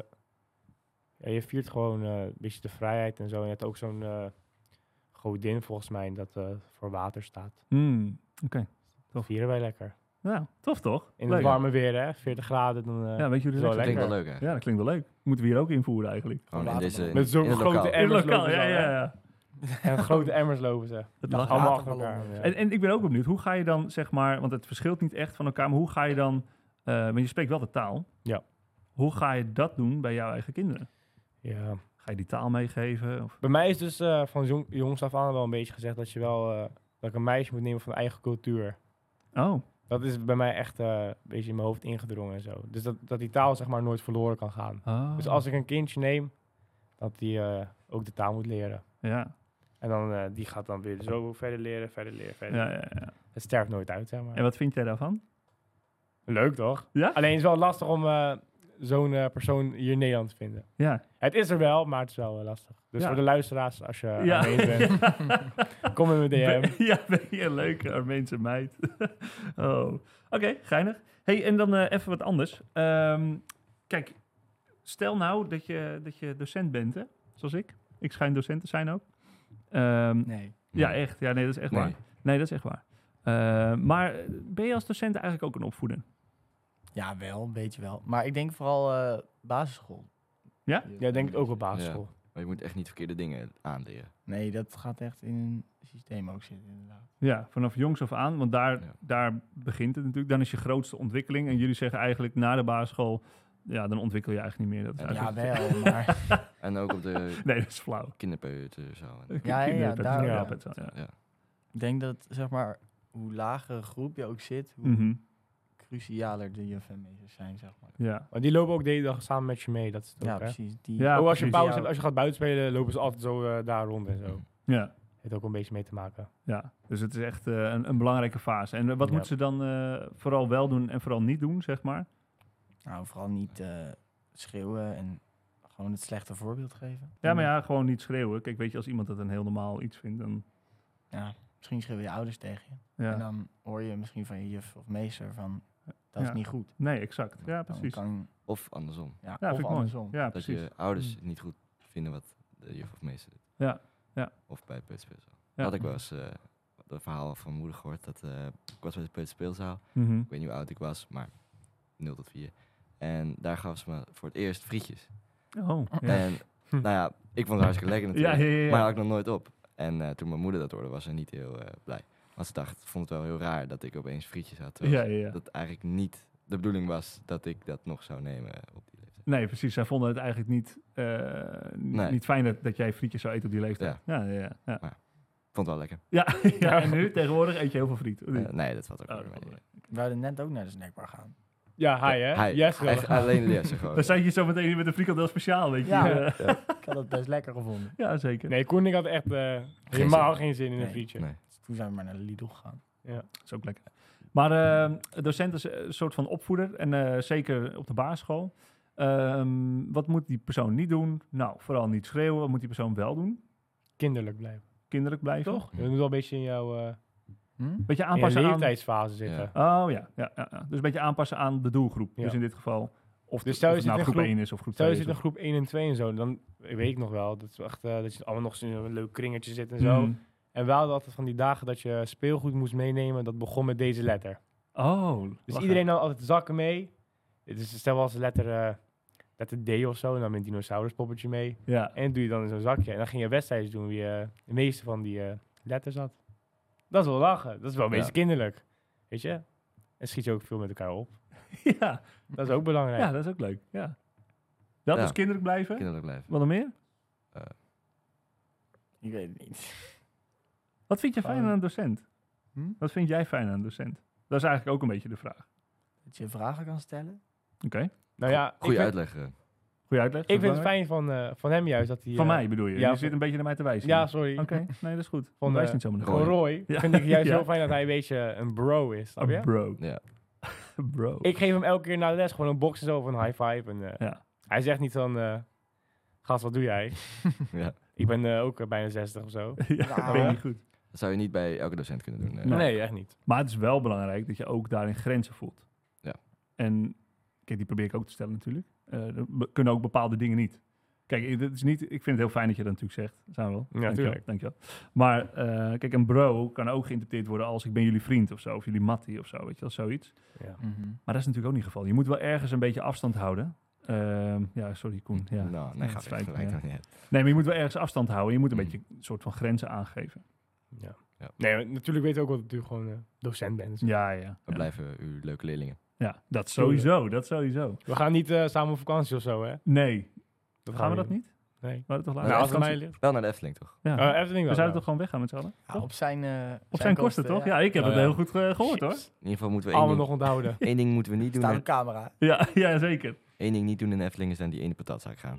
[SPEAKER 5] ja, je viert gewoon eh, een beetje de vrijheid en zo. En je hebt ook zo'n eh, godin volgens mij dat eh, voor water staat.
[SPEAKER 2] Hmm, Oké.
[SPEAKER 5] Dat vieren wij lekker.
[SPEAKER 2] Nou, tof toch?
[SPEAKER 5] In
[SPEAKER 2] Leuk.
[SPEAKER 5] het warme weer, hè? 40 graden. Dan, eh,
[SPEAKER 2] Ja, weet je hoe
[SPEAKER 5] Zo
[SPEAKER 2] dat
[SPEAKER 4] Dat
[SPEAKER 2] is?
[SPEAKER 4] klinkt wel
[SPEAKER 5] lekker.
[SPEAKER 4] leuk, hè?
[SPEAKER 2] Ja, dat klinkt wel leuk. Moeten we hier ook invoeren eigenlijk.
[SPEAKER 4] Gewoon in
[SPEAKER 3] Later
[SPEAKER 4] deze,
[SPEAKER 3] dan.
[SPEAKER 5] met zo'n
[SPEAKER 4] in het
[SPEAKER 5] grote
[SPEAKER 4] lokaal.
[SPEAKER 2] En
[SPEAKER 5] emmers
[SPEAKER 2] lokaal,
[SPEAKER 5] lopen ze
[SPEAKER 2] ja,
[SPEAKER 5] al,
[SPEAKER 2] ja,
[SPEAKER 5] hè?
[SPEAKER 2] ja.
[SPEAKER 5] En grote emmers lopen ze.
[SPEAKER 2] Het
[SPEAKER 3] Ja,
[SPEAKER 2] mag.
[SPEAKER 5] Allemaal achter
[SPEAKER 3] waterballonnen.
[SPEAKER 5] elkaar.
[SPEAKER 2] En,
[SPEAKER 5] ja.
[SPEAKER 2] en ik ben ook benieuwd, hoe ga je dan, zeg maar, want het verschilt niet echt van elkaar, maar hoe ga je dan, eh want je spreekt wel de taal.
[SPEAKER 5] Ja.
[SPEAKER 2] Hoe ga je dat doen bij jouw eigen kinderen?
[SPEAKER 5] ja.
[SPEAKER 2] Ga je die taal meegeven? Of,
[SPEAKER 5] Bij mij is dus eh, van jong, jongs af aan wel een beetje gezegd dat je wel eh, dat ik een meisje moet nemen van eigen cultuur.
[SPEAKER 2] oh,
[SPEAKER 5] Dat is bij mij echt eh, een beetje in mijn hoofd ingedrongen en zo. Dus dat, dat die taal zeg maar nooit verloren kan gaan.
[SPEAKER 2] Ah.
[SPEAKER 5] Dus als ik een kindje neem, dat die eh, ook de taal moet leren.
[SPEAKER 2] Ja,
[SPEAKER 5] En dan, eh, die gaat dan weer zo verder leren, verder leren,
[SPEAKER 2] ja,
[SPEAKER 5] verder.
[SPEAKER 2] ja, ja.
[SPEAKER 5] Het sterft nooit uit, zeg
[SPEAKER 2] En
[SPEAKER 5] maar.
[SPEAKER 2] wat vind jij daarvan?
[SPEAKER 5] Leuk toch?
[SPEAKER 2] Ja?
[SPEAKER 5] Alleen is het wel lastig om eh, zo'n eh, persoon hier in Nederland te vinden.
[SPEAKER 2] Ja.
[SPEAKER 5] Het is er wel, maar het is wel eh, lastig. Dus
[SPEAKER 2] Ja.
[SPEAKER 5] voor de luisteraars, als je
[SPEAKER 2] ja.
[SPEAKER 5] ja. bent, kom in mijn DM.
[SPEAKER 2] Ben- ja, ben je een leuke Armeense meid. oh. Oké, geinig. hey, en dan eh, even wat anders. Ehm, kijk, stel nou dat je, dat je docent bent, hè? zoals ik. Ik schijn docent te zijn ook. Ehm,
[SPEAKER 3] Nee.
[SPEAKER 2] Ja, echt. Ja, nee, dat is echt
[SPEAKER 4] Nee.
[SPEAKER 2] waar. Nee, dat is echt waar. Eh, maar ben je als docent eigenlijk ook een opvoeder?
[SPEAKER 3] Ja, wel, een beetje wel. Maar ik denk vooral eh, basisschool.
[SPEAKER 2] Ja?
[SPEAKER 5] Ja, denk ik ook op basisschool.
[SPEAKER 4] Maar je moet echt niet verkeerde dingen aanleren.
[SPEAKER 3] Nee, dat gaat echt in een systeem ook zitten, inderdaad.
[SPEAKER 2] Ja, vanaf jongs af aan, want daar,
[SPEAKER 4] Ja.
[SPEAKER 2] daar begint het natuurlijk. Dan is je grootste ontwikkeling. En jullie zeggen eigenlijk na de basisschool, ja, dan ontwikkel je eigenlijk niet meer. Dat is
[SPEAKER 4] Ja,
[SPEAKER 3] Ja,
[SPEAKER 2] eigenlijk-
[SPEAKER 3] wel, maar...
[SPEAKER 4] En ook op de
[SPEAKER 2] Nee, dat is flauw.
[SPEAKER 4] kinderpeuterzaal. En,
[SPEAKER 3] ja, ja,
[SPEAKER 2] Kinderpet,
[SPEAKER 3] daar-
[SPEAKER 2] kinderpet, ja. ja.
[SPEAKER 4] ja.
[SPEAKER 3] Ik denk dat, zeg maar, hoe lagere groep je ook zit, hoe
[SPEAKER 2] Mhm,
[SPEAKER 3] crucialer de juf en meesters zijn, zeg maar.
[SPEAKER 2] ja.
[SPEAKER 5] Want die lopen ook de hele dag samen met je mee. Dat is het
[SPEAKER 3] Ja,
[SPEAKER 5] ook, hè?
[SPEAKER 3] precies. Die,
[SPEAKER 2] Ja,
[SPEAKER 5] ook als je
[SPEAKER 2] precies.
[SPEAKER 5] pauze hebt, als je gaat buiten spelen, lopen ze altijd zo eh, daar rond en zo.
[SPEAKER 2] Ja,
[SPEAKER 5] Heeft ook een beetje mee te maken.
[SPEAKER 2] ja. Dus het is echt eh, een, een belangrijke fase. En eh, wat
[SPEAKER 5] Ja.
[SPEAKER 2] moeten ze dan eh, vooral wel doen en vooral niet doen, zeg maar?
[SPEAKER 3] Nou, vooral niet eh, schreeuwen en gewoon het slechte voorbeeld geven.
[SPEAKER 2] Ja, maar ja, gewoon niet schreeuwen. Kijk, weet je, als iemand dat een heel normaal iets vindt, dan...
[SPEAKER 3] Ja, misschien schreeuwen je ouders tegen je.
[SPEAKER 2] Ja.
[SPEAKER 3] En dan hoor je misschien van je juf of meester van, dat
[SPEAKER 2] Ja.
[SPEAKER 3] is niet goed.
[SPEAKER 2] Nee, exact. Ja,
[SPEAKER 3] Dan
[SPEAKER 2] precies.
[SPEAKER 3] kan-
[SPEAKER 4] Of andersom.
[SPEAKER 3] ja,
[SPEAKER 2] Ja,
[SPEAKER 3] of
[SPEAKER 2] vind ik mooi.
[SPEAKER 3] andersom.
[SPEAKER 2] Ja,
[SPEAKER 4] dat
[SPEAKER 2] precies. Mm.
[SPEAKER 4] je ouders het niet goed vinden wat de juf of meester doet.
[SPEAKER 2] Ja, ja.
[SPEAKER 4] Of bij het peuterspeelzaal.
[SPEAKER 2] Ja.
[SPEAKER 4] Had ik wel eens eh een verhaal van mijn moeder gehoord. Dat, eh, ik was bij de peuterspeelzaal.
[SPEAKER 2] Mhm.
[SPEAKER 4] Ik weet niet hoe oud ik was, maar 0 tot 4. En daar gaf ze me voor het eerst frietjes.
[SPEAKER 2] Oh, ja.
[SPEAKER 4] En nou ja, ik vond het hartstikke lekker
[SPEAKER 2] Ja,
[SPEAKER 4] natuurlijk.
[SPEAKER 2] ja, ja, ja.
[SPEAKER 4] Maar had ik nog nooit op. En eh, toen mijn moeder dat hoorde, was ze niet heel eh, blij. Want ze dacht, vond het wel heel raar dat ik opeens frietjes had. terwijl
[SPEAKER 2] Ja,
[SPEAKER 4] ze-
[SPEAKER 2] ja, ja.
[SPEAKER 4] Dat eigenlijk niet de bedoeling was dat ik dat nog zou nemen eh, op die leeftijd.
[SPEAKER 2] Nee, precies. Zij vonden het eigenlijk niet, eh, n-
[SPEAKER 4] Nee.
[SPEAKER 2] niet fijn dat, dat jij frietjes zou eten op die leeftijd. Ja, ja, ja. Ja,
[SPEAKER 4] Vond het wel lekker.
[SPEAKER 2] ja, ja, en nu tegenwoordig eet je heel veel friet. of niet?
[SPEAKER 4] Eh, nee, dat valt ook
[SPEAKER 2] Oh,
[SPEAKER 4] wel
[SPEAKER 2] dat
[SPEAKER 4] mee.
[SPEAKER 2] valt
[SPEAKER 3] We wilden net ook naar de snackbar gaan.
[SPEAKER 5] Ja, hi hè?
[SPEAKER 4] Hij-
[SPEAKER 5] Yes,
[SPEAKER 4] echt alleen lessen gewoon.
[SPEAKER 2] Dan zijn je zo meteen hier met een frikandel speciaal, weet je.
[SPEAKER 3] Ja.
[SPEAKER 2] Eh,
[SPEAKER 3] Ik had het best lekker gevonden.
[SPEAKER 2] ja, zeker.
[SPEAKER 5] Nee, Koen, ik had echt eh, helemaal
[SPEAKER 4] zin.
[SPEAKER 5] geen zin in een
[SPEAKER 3] Nee.
[SPEAKER 5] frietje.
[SPEAKER 4] Nee.
[SPEAKER 3] Dus toen zijn we maar naar Lidl gegaan.
[SPEAKER 2] Dat is ook lekker. Maar eh docent is een soort van opvoeder. En eh, zeker op de basisschool. Ehm, wat moet die persoon niet doen? Nou, vooral niet schreeuwen. Wat moet die persoon wel doen?
[SPEAKER 5] Kinderlijk blijven.
[SPEAKER 2] Kinderlijk blijven. Toch?
[SPEAKER 5] Je moet wel een beetje in jouw eh,
[SPEAKER 3] Hm?
[SPEAKER 2] Beetje
[SPEAKER 5] in je
[SPEAKER 2] aanpassen aan...
[SPEAKER 5] leeftijdsfase zitten.
[SPEAKER 2] Oh ja, ja, ja, ja. dus een beetje aanpassen aan de doelgroep.
[SPEAKER 5] Ja.
[SPEAKER 2] Dus in dit geval, of,
[SPEAKER 5] Dus
[SPEAKER 2] dus
[SPEAKER 5] stel je
[SPEAKER 2] het
[SPEAKER 5] zit
[SPEAKER 2] nou
[SPEAKER 5] in
[SPEAKER 2] groep
[SPEAKER 5] groep-
[SPEAKER 2] 1 is of groep
[SPEAKER 5] Stel
[SPEAKER 2] 2
[SPEAKER 5] je
[SPEAKER 2] is.
[SPEAKER 5] zit in
[SPEAKER 2] of-
[SPEAKER 5] groep 1 en 2 en zo, dan ik weet ik nog wel. Dat, is echt, eh, dat je allemaal nog in een leuk kringetje zit en zo.
[SPEAKER 2] Mm.
[SPEAKER 5] En we hadden altijd van die dagen dat je speelgoed moest meenemen. Dat begon met deze letter.
[SPEAKER 2] Oh,
[SPEAKER 5] Dus
[SPEAKER 2] lachen.
[SPEAKER 5] iedereen had altijd zakken mee. Dus stel als letter, eh, letter D of zo, en dan met een dinosauruspoppetje mee.
[SPEAKER 2] Ja,
[SPEAKER 5] En dat doe je dan in zo'n zakje. En dan ging je wedstrijdjes doen wie eh, de meeste van die eh, letters had. Dat is wel lachen. Dat is wel een beetje
[SPEAKER 4] Ja.
[SPEAKER 5] kinderlijk. Weet je? En schiet je ook veel met elkaar op.
[SPEAKER 2] ja,
[SPEAKER 5] Dat is ook belangrijk.
[SPEAKER 2] ja, dat is ook leuk. Ja. Dat
[SPEAKER 4] Ja.
[SPEAKER 2] is kinderlijk blijven.
[SPEAKER 4] Kinderlijk blijven.
[SPEAKER 2] Wat nog meer?
[SPEAKER 3] Ik weet het niet.
[SPEAKER 2] Wat vind je fijn
[SPEAKER 5] Fijn.
[SPEAKER 2] aan een docent?
[SPEAKER 3] Hm?
[SPEAKER 2] Wat vind jij fijn aan een docent? Dat is eigenlijk ook een beetje de vraag.
[SPEAKER 3] Dat je vragen kan stellen.
[SPEAKER 2] Oké,
[SPEAKER 5] Nou ja, ik
[SPEAKER 4] Goeie
[SPEAKER 5] vind,
[SPEAKER 4] uitleg. eh.
[SPEAKER 2] goeie uitleg.
[SPEAKER 5] ik vind het
[SPEAKER 2] belangrijk.
[SPEAKER 5] fijn van, eh, van hem juist dat hij...
[SPEAKER 2] Van
[SPEAKER 5] eh,
[SPEAKER 2] mij bedoel je?
[SPEAKER 5] ja,
[SPEAKER 2] je
[SPEAKER 5] van-
[SPEAKER 2] zit een beetje naar mij te wijzen.
[SPEAKER 5] Ja, sorry.
[SPEAKER 2] Oké, nee, dat is goed.
[SPEAKER 5] Van,
[SPEAKER 2] Van, Wijs
[SPEAKER 5] eh,
[SPEAKER 2] niet zo naar
[SPEAKER 5] Gewoon
[SPEAKER 4] Roy.
[SPEAKER 5] Roy.
[SPEAKER 2] Ja.
[SPEAKER 5] Vind ik juist
[SPEAKER 2] Ja.
[SPEAKER 5] heel fijn dat hij een beetje een bro is. Snap je?
[SPEAKER 2] Oh, bro.
[SPEAKER 4] Ja.
[SPEAKER 2] bro.
[SPEAKER 5] Ik geef hem elke keer na de les gewoon een box en zo van high five. En, eh,
[SPEAKER 2] Ja.
[SPEAKER 5] Hij zegt niet van, eh gast, wat doe jij?
[SPEAKER 4] ja.
[SPEAKER 5] Ik ben eh, ook eh, bijna 60 of zo.
[SPEAKER 2] ja, dat vind ik niet goed.
[SPEAKER 4] Dat zou je niet bij elke docent kunnen doen. eh.
[SPEAKER 2] Nee.
[SPEAKER 5] Nee, echt niet.
[SPEAKER 2] Maar het is wel belangrijk dat je ook daarin grenzen voelt.
[SPEAKER 4] Ja.
[SPEAKER 2] En Kijk, die probeer ik ook te stellen natuurlijk. Eh, er be- kunnen ook bepaalde dingen niet. Kijk, eh, dit is niet, ik vind het heel fijn dat je dat natuurlijk zegt. Zijn we wel. Dankjewel,
[SPEAKER 5] tuurlijk.
[SPEAKER 2] Dankjewel. Maar eh, kijk, een bro kan ook geïnterpreteerd worden als ik ben jullie vriend of zo. Of jullie mattie of zo, weet je wel, zoiets.
[SPEAKER 5] Ja.
[SPEAKER 3] Mhm.
[SPEAKER 2] Maar dat is natuurlijk ook niet het geval. Je moet wel ergens een beetje afstand houden. Ehm, ja, sorry Koen. Ja.
[SPEAKER 4] Nou,
[SPEAKER 2] Ja,
[SPEAKER 4] nee,
[SPEAKER 2] het
[SPEAKER 4] ga weg.
[SPEAKER 2] spijt me,
[SPEAKER 4] gelijk
[SPEAKER 2] ja.
[SPEAKER 4] aan het.
[SPEAKER 2] Nee, maar je moet wel ergens afstand houden. Je moet een
[SPEAKER 4] Mm.
[SPEAKER 2] beetje een soort van grenzen aangeven.
[SPEAKER 5] Ja.
[SPEAKER 4] Ja.
[SPEAKER 5] Nee, maar natuurlijk weet ik ook wel dat u gewoon eh, docent bent.
[SPEAKER 2] Ja, ja.
[SPEAKER 4] We
[SPEAKER 2] Ja,
[SPEAKER 4] blijven uw leuke leerlingen.
[SPEAKER 2] ja dat sowieso. Dat sowieso.
[SPEAKER 5] We gaan niet eh, samen op vakantie of zo, hè?
[SPEAKER 2] Nee.
[SPEAKER 5] Dat
[SPEAKER 2] Gaan we
[SPEAKER 5] niet
[SPEAKER 2] dat niet?
[SPEAKER 5] doen. Nee.
[SPEAKER 2] We hadden toch later?
[SPEAKER 5] Nou, als het
[SPEAKER 2] vakantie-
[SPEAKER 5] mij ligt.
[SPEAKER 4] Wel naar de Efteling, toch?
[SPEAKER 2] Ja.
[SPEAKER 5] Eh, Efteling
[SPEAKER 2] we
[SPEAKER 5] wel.
[SPEAKER 2] zouden
[SPEAKER 5] ja.
[SPEAKER 2] toch gewoon weggaan met z'n allen?
[SPEAKER 3] Ja,
[SPEAKER 2] Toch?
[SPEAKER 3] op zijn, eh
[SPEAKER 2] Op zijn kosten, toch? Ja, ik heb
[SPEAKER 4] Oh,
[SPEAKER 2] het
[SPEAKER 4] ja.
[SPEAKER 2] heel goed eh, gehoord, hoor.
[SPEAKER 4] In ieder geval moeten we één
[SPEAKER 5] Allemaal nog
[SPEAKER 4] ding,
[SPEAKER 5] onthouden.
[SPEAKER 4] één ding moeten we niet doen.
[SPEAKER 3] Staan
[SPEAKER 4] En,
[SPEAKER 3] een camera.
[SPEAKER 2] Ja, ja zeker. Oh,
[SPEAKER 4] één ding niet doen in de Efteling is naar die ene patatzaak gaan.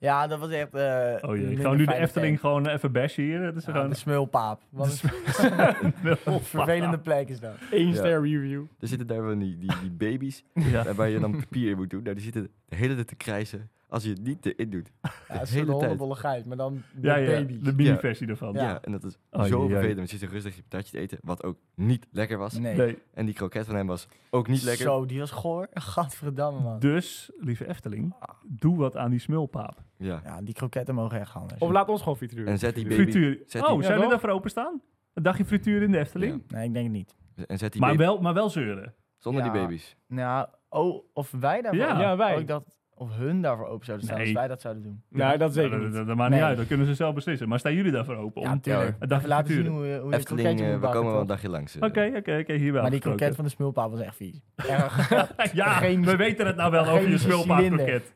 [SPEAKER 3] Ja, dat was echt. eh,
[SPEAKER 2] Oh
[SPEAKER 3] een
[SPEAKER 2] jee,
[SPEAKER 3] minder
[SPEAKER 2] gaan we nu de
[SPEAKER 3] fijne
[SPEAKER 2] Efteling
[SPEAKER 3] tijd.
[SPEAKER 2] gewoon even bashen hier? Dus Het is
[SPEAKER 3] Ja,
[SPEAKER 2] gewoon
[SPEAKER 3] de smulpaap. Wat een vervelende plek is dat.
[SPEAKER 5] Eén
[SPEAKER 4] Ja.
[SPEAKER 5] ster review.
[SPEAKER 4] Er zitten daar wel die, die, die baby's
[SPEAKER 2] Ja.
[SPEAKER 4] waar- waar je dan papier in moet doen. Nou, die zitten de hele tijd te krijsen als je het niet erin doet.
[SPEAKER 3] Ja, een
[SPEAKER 4] hele
[SPEAKER 3] soort
[SPEAKER 4] tijd.
[SPEAKER 3] hondenbolle geit, maar dan de
[SPEAKER 2] Ja, ja,
[SPEAKER 3] baby.
[SPEAKER 2] de mini-versie ervan.
[SPEAKER 4] Ja,
[SPEAKER 3] Ja.
[SPEAKER 4] en dat is
[SPEAKER 2] Oh,
[SPEAKER 4] zo
[SPEAKER 2] jee, jee.
[SPEAKER 4] vervelend. Want je zit er rustig je patatje te eten, wat ook niet lekker was.
[SPEAKER 3] Nee.
[SPEAKER 2] Nee.
[SPEAKER 4] En die kroket van hem was ook niet lekker.
[SPEAKER 3] Zo, die was goor. Gadverdamme, man.
[SPEAKER 2] Dus, lieve Efteling, doe wat aan die smulpaap.
[SPEAKER 4] Ja.
[SPEAKER 3] Ja, die kroketten mogen echt anders.
[SPEAKER 5] Of laat ons gewoon frituur.
[SPEAKER 4] En zet die baby...
[SPEAKER 2] Frituur.
[SPEAKER 4] zet die-
[SPEAKER 2] Oh,
[SPEAKER 4] Ja,
[SPEAKER 2] zijn jullie
[SPEAKER 5] toch?
[SPEAKER 2] daarvoor openstaan? Een dagje frituur in de Efteling?
[SPEAKER 3] Nee, ik denk het niet.
[SPEAKER 4] En zet die
[SPEAKER 2] Maar
[SPEAKER 4] baby...
[SPEAKER 2] wel, maar wel zeuren.
[SPEAKER 4] Zonder die
[SPEAKER 3] Ja.
[SPEAKER 4] baby's.
[SPEAKER 3] Nou, oh, of wij daarvoor
[SPEAKER 2] Ja.
[SPEAKER 5] Ja, wij.
[SPEAKER 3] Oh, ik dacht, of hun daarvoor open zouden staan,
[SPEAKER 2] Nee.
[SPEAKER 3] als wij dat zouden doen.
[SPEAKER 5] Nee, dat
[SPEAKER 2] Nou,
[SPEAKER 5] zeker
[SPEAKER 2] dat,
[SPEAKER 5] niet.
[SPEAKER 2] dat- dat maakt niet
[SPEAKER 3] Nee.
[SPEAKER 2] uit, dan kunnen ze zelf beslissen. Maar staan jullie daarvoor open? om
[SPEAKER 3] Ja, tuurlijk.
[SPEAKER 2] Een dagje
[SPEAKER 3] Even laten zien
[SPEAKER 2] frituur.
[SPEAKER 3] hoe je, hoe je een
[SPEAKER 4] Efteling,
[SPEAKER 3] kroketje
[SPEAKER 4] eh,
[SPEAKER 3] moet
[SPEAKER 4] we
[SPEAKER 3] bakken,
[SPEAKER 4] komen wel een
[SPEAKER 3] toch?
[SPEAKER 4] dagje langs. eh.
[SPEAKER 2] Oké, oké, oké, hierbij
[SPEAKER 3] Maar
[SPEAKER 2] afgesproken.
[SPEAKER 3] die kroket van de smulpaap was echt vies. Erg.
[SPEAKER 2] Ja,
[SPEAKER 3] Geen-
[SPEAKER 2] we weten het nou wel
[SPEAKER 3] geen
[SPEAKER 2] over je
[SPEAKER 3] cilinder.
[SPEAKER 2] smulpaapkroket.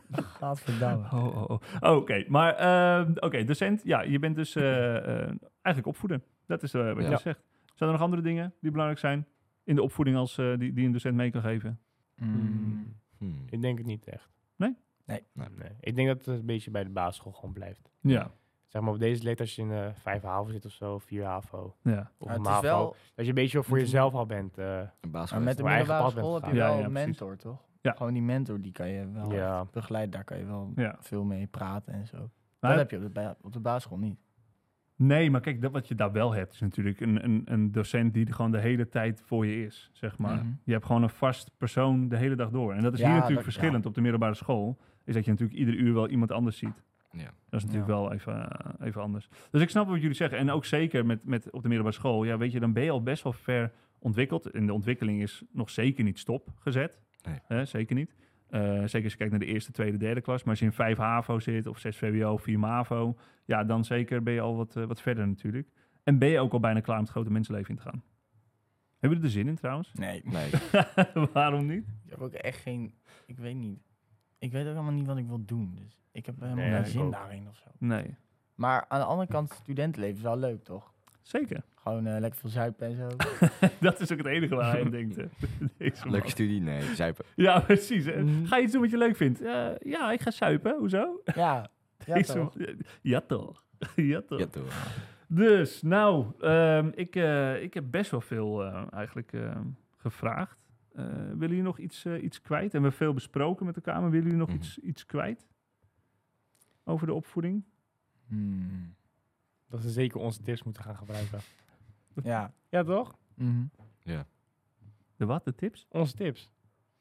[SPEAKER 3] Gadverdamme.
[SPEAKER 2] Oh, oh, oh. Oh, Oké, maar ehm, oké, docent. Ja, je bent dus eh, eh, eigenlijk opvoeden. Dat is eh, wat
[SPEAKER 4] Ja.
[SPEAKER 2] je zegt. Zijn er nog andere dingen die belangrijk zijn in de opvoeding als, eh, die, die een docent mee kan geven?
[SPEAKER 3] Mm.
[SPEAKER 4] Hmm.
[SPEAKER 5] Ik denk het niet echt.
[SPEAKER 2] Nee?
[SPEAKER 3] Nee.
[SPEAKER 5] nee. Ik denk dat het een beetje bij de basisschool gewoon blijft.
[SPEAKER 2] Ja.
[SPEAKER 5] Zeg maar op deze leeftijd als je in eh, vijf HAVO zit of zo, vier HAVO.
[SPEAKER 2] Ja,
[SPEAKER 5] Of
[SPEAKER 3] Maar
[SPEAKER 5] een
[SPEAKER 3] het is
[SPEAKER 5] MAVO.
[SPEAKER 3] wel,
[SPEAKER 5] Dat je een beetje voor
[SPEAKER 3] Moet-
[SPEAKER 5] jezelf al bent. eh,
[SPEAKER 4] Een
[SPEAKER 3] maar met
[SPEAKER 4] baasgeweest.
[SPEAKER 3] de
[SPEAKER 5] Mijn eigen
[SPEAKER 3] middelbare
[SPEAKER 5] pad bent
[SPEAKER 3] school heb je
[SPEAKER 5] gegaan.
[SPEAKER 3] wel
[SPEAKER 2] Ja, ja,
[SPEAKER 3] een
[SPEAKER 2] precies.
[SPEAKER 3] mentor, toch?
[SPEAKER 2] Ja.
[SPEAKER 3] Gewoon die mentor, die kan je wel
[SPEAKER 5] Ja.
[SPEAKER 3] echt begeleiden. Daar kan je wel
[SPEAKER 2] ja.
[SPEAKER 3] veel mee praten en zo.
[SPEAKER 2] Maar-
[SPEAKER 3] dat heb je op de, ba- op de basisschool niet.
[SPEAKER 2] Nee, maar kijk, dat, wat je daar wel hebt is natuurlijk een, een, een docent die er gewoon de hele tijd voor je is, zeg maar.
[SPEAKER 3] Mhm.
[SPEAKER 2] Je hebt gewoon een vast persoon de hele dag door. En dat is
[SPEAKER 3] Ja,
[SPEAKER 2] hier natuurlijk
[SPEAKER 3] dat-
[SPEAKER 2] verschillend op de middelbare school, is dat je natuurlijk ieder uur wel iemand anders ziet.
[SPEAKER 4] Ja.
[SPEAKER 2] Dat is natuurlijk
[SPEAKER 3] Ja.
[SPEAKER 2] wel even, eh, even anders. Dus ik snap wat jullie zeggen. En ook zeker met, met op de middelbare school. Ja, weet je, dan ben je al best wel ver ontwikkeld. En de ontwikkeling is nog zeker niet stopgezet.
[SPEAKER 4] Nee.
[SPEAKER 2] Hè, zeker niet. Eh, zeker als je kijkt naar de eerste, tweede, derde klas. Maar als je in 5 HAVO zit of 6 VWO, 4 MAVO. Ja, dan zeker ben je al wat, eh, wat verder natuurlijk. En ben je ook al bijna klaar om het grote mensenleven in te gaan. Hebben jullie er zin in trouwens?
[SPEAKER 3] Nee.
[SPEAKER 4] Nee.
[SPEAKER 2] Waarom niet?
[SPEAKER 3] Ik heb ook echt geen... Ik weet niet. Ik weet ook helemaal niet wat ik wil doen. Dus ik heb helemaal
[SPEAKER 5] Nee,
[SPEAKER 3] geen
[SPEAKER 5] ik
[SPEAKER 3] zin
[SPEAKER 5] ook.
[SPEAKER 3] daarin of zo.
[SPEAKER 2] Nee.
[SPEAKER 3] Maar aan de andere kant, studentenleven is wel leuk, toch?
[SPEAKER 2] Zeker.
[SPEAKER 3] Gewoon eh, lekker veel zuipen en zo.
[SPEAKER 2] Dat is ook het enige waar hij aan denkt. hè. Deze man.
[SPEAKER 4] Leuke studie? Nee, zuipen.
[SPEAKER 2] Ja, precies. hè.
[SPEAKER 3] Mhm.
[SPEAKER 2] Ga je iets doen wat je leuk vindt? Eh, ja, ik ga suipen. Hoezo?
[SPEAKER 3] ja, ja
[SPEAKER 2] Deze
[SPEAKER 3] toch?
[SPEAKER 2] man- Ja, toch. Ja, toch.
[SPEAKER 4] Ja, toch.
[SPEAKER 2] Dus, nou, ehm, ik, eh, ik heb best wel veel eh, eigenlijk ehm, gevraagd. Eh, willen jullie nog iets, eh, iets kwijt? En we hebben veel besproken met elkaar, maar willen jullie nog
[SPEAKER 4] Mhm.
[SPEAKER 2] iets, iets kwijt? Over de opvoeding?
[SPEAKER 3] Hmm.
[SPEAKER 5] dat ze zeker onze tips moeten gaan gebruiken.
[SPEAKER 3] Ja.
[SPEAKER 5] Ja, toch?
[SPEAKER 3] Mhm.
[SPEAKER 2] De wat, de tips?
[SPEAKER 5] Onze tips.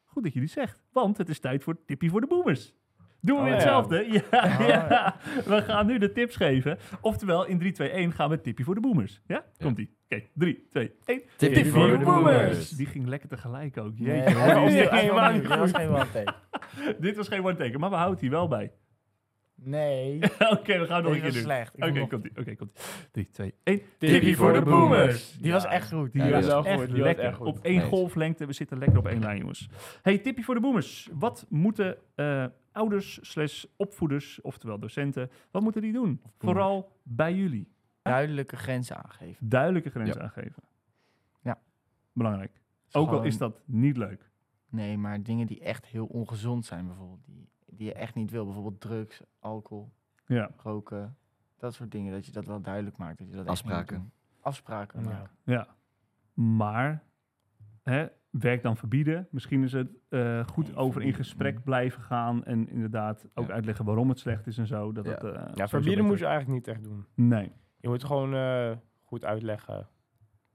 [SPEAKER 2] Goed dat je die zegt, want het is tijd voor het tipje voor de boomers. Doen we
[SPEAKER 5] Oh,
[SPEAKER 2] weer
[SPEAKER 5] ja.
[SPEAKER 2] hetzelfde? Ja, ja.
[SPEAKER 3] Oh, ja.
[SPEAKER 2] We gaan nu de tips geven. Oftewel, in 3, 2, 1 gaan we het tipje voor de boomers. Ja? Komt-ie. Oké, 3, 2, 1.
[SPEAKER 4] Tipje
[SPEAKER 5] Tipje voor voor de de boomers.
[SPEAKER 4] boomers.
[SPEAKER 2] Die ging lekker tegelijk ook.
[SPEAKER 3] Nee, Oh,
[SPEAKER 2] Jeetje.
[SPEAKER 3] hij was
[SPEAKER 2] hoor, die
[SPEAKER 3] niet-
[SPEAKER 2] is echt
[SPEAKER 3] hij
[SPEAKER 2] geen
[SPEAKER 3] was niet-
[SPEAKER 2] waar-
[SPEAKER 3] hij was geen one take.
[SPEAKER 2] Dit was geen one-taker, maar we houden die wel bij.
[SPEAKER 3] Nee,
[SPEAKER 2] Oké, we gaan het nog een
[SPEAKER 3] deze
[SPEAKER 2] keer
[SPEAKER 3] was
[SPEAKER 2] doen.
[SPEAKER 3] slecht. Ik
[SPEAKER 2] Oké,
[SPEAKER 3] vond nog-
[SPEAKER 2] komt-ie. Oké, komt-ie. 3, 2, 1.
[SPEAKER 4] Tipje voor de boomers.
[SPEAKER 3] Die was echt goed.
[SPEAKER 4] Ja,
[SPEAKER 3] Die
[SPEAKER 4] die
[SPEAKER 3] was
[SPEAKER 4] was
[SPEAKER 5] wel goed.
[SPEAKER 3] echt leuk.
[SPEAKER 5] Die was
[SPEAKER 2] lekker.
[SPEAKER 5] echt goed.
[SPEAKER 2] Op één
[SPEAKER 4] Nice.
[SPEAKER 2] golflengte. We zitten lekker op één lijn, jongens. Hey, tipje voor de boomers. Wat moeten eh, ouders slash opvoeders, oftewel docenten, wat moeten die doen? Vooral bij jullie.
[SPEAKER 3] Duidelijke grenzen aangeven.
[SPEAKER 2] Duidelijke grenzen aangeven.
[SPEAKER 3] Ja.
[SPEAKER 2] Belangrijk.
[SPEAKER 3] Dus
[SPEAKER 2] Ook al
[SPEAKER 3] gewoon-
[SPEAKER 2] is dat niet leuk.
[SPEAKER 3] Nee, maar dingen die echt heel ongezond zijn bijvoorbeeld. Die, die je echt niet wil. Bijvoorbeeld drugs, alcohol,
[SPEAKER 2] Ja,
[SPEAKER 3] roken. Dat soort dingen. Dat je dat wel duidelijk maakt. Dat je dat echt niet moet
[SPEAKER 4] Afspraken.
[SPEAKER 3] doen. Afspraken.
[SPEAKER 5] Ja.
[SPEAKER 3] maken.
[SPEAKER 2] ja. Maar, hè, werk dan verbieden. Misschien is het eh, goed
[SPEAKER 3] Nee,
[SPEAKER 2] over in
[SPEAKER 3] verbieden,
[SPEAKER 2] gesprek
[SPEAKER 3] nee.
[SPEAKER 2] blijven gaan. En inderdaad ook
[SPEAKER 4] Ja.
[SPEAKER 2] uitleggen waarom het slecht is en zo. Dat
[SPEAKER 4] Ja.
[SPEAKER 2] het, eh,
[SPEAKER 5] Ja,
[SPEAKER 2] sowieso
[SPEAKER 5] verbieden moet je
[SPEAKER 2] beter-
[SPEAKER 5] eigenlijk niet echt doen.
[SPEAKER 2] Nee,
[SPEAKER 5] Je moet gewoon eh, goed uitleggen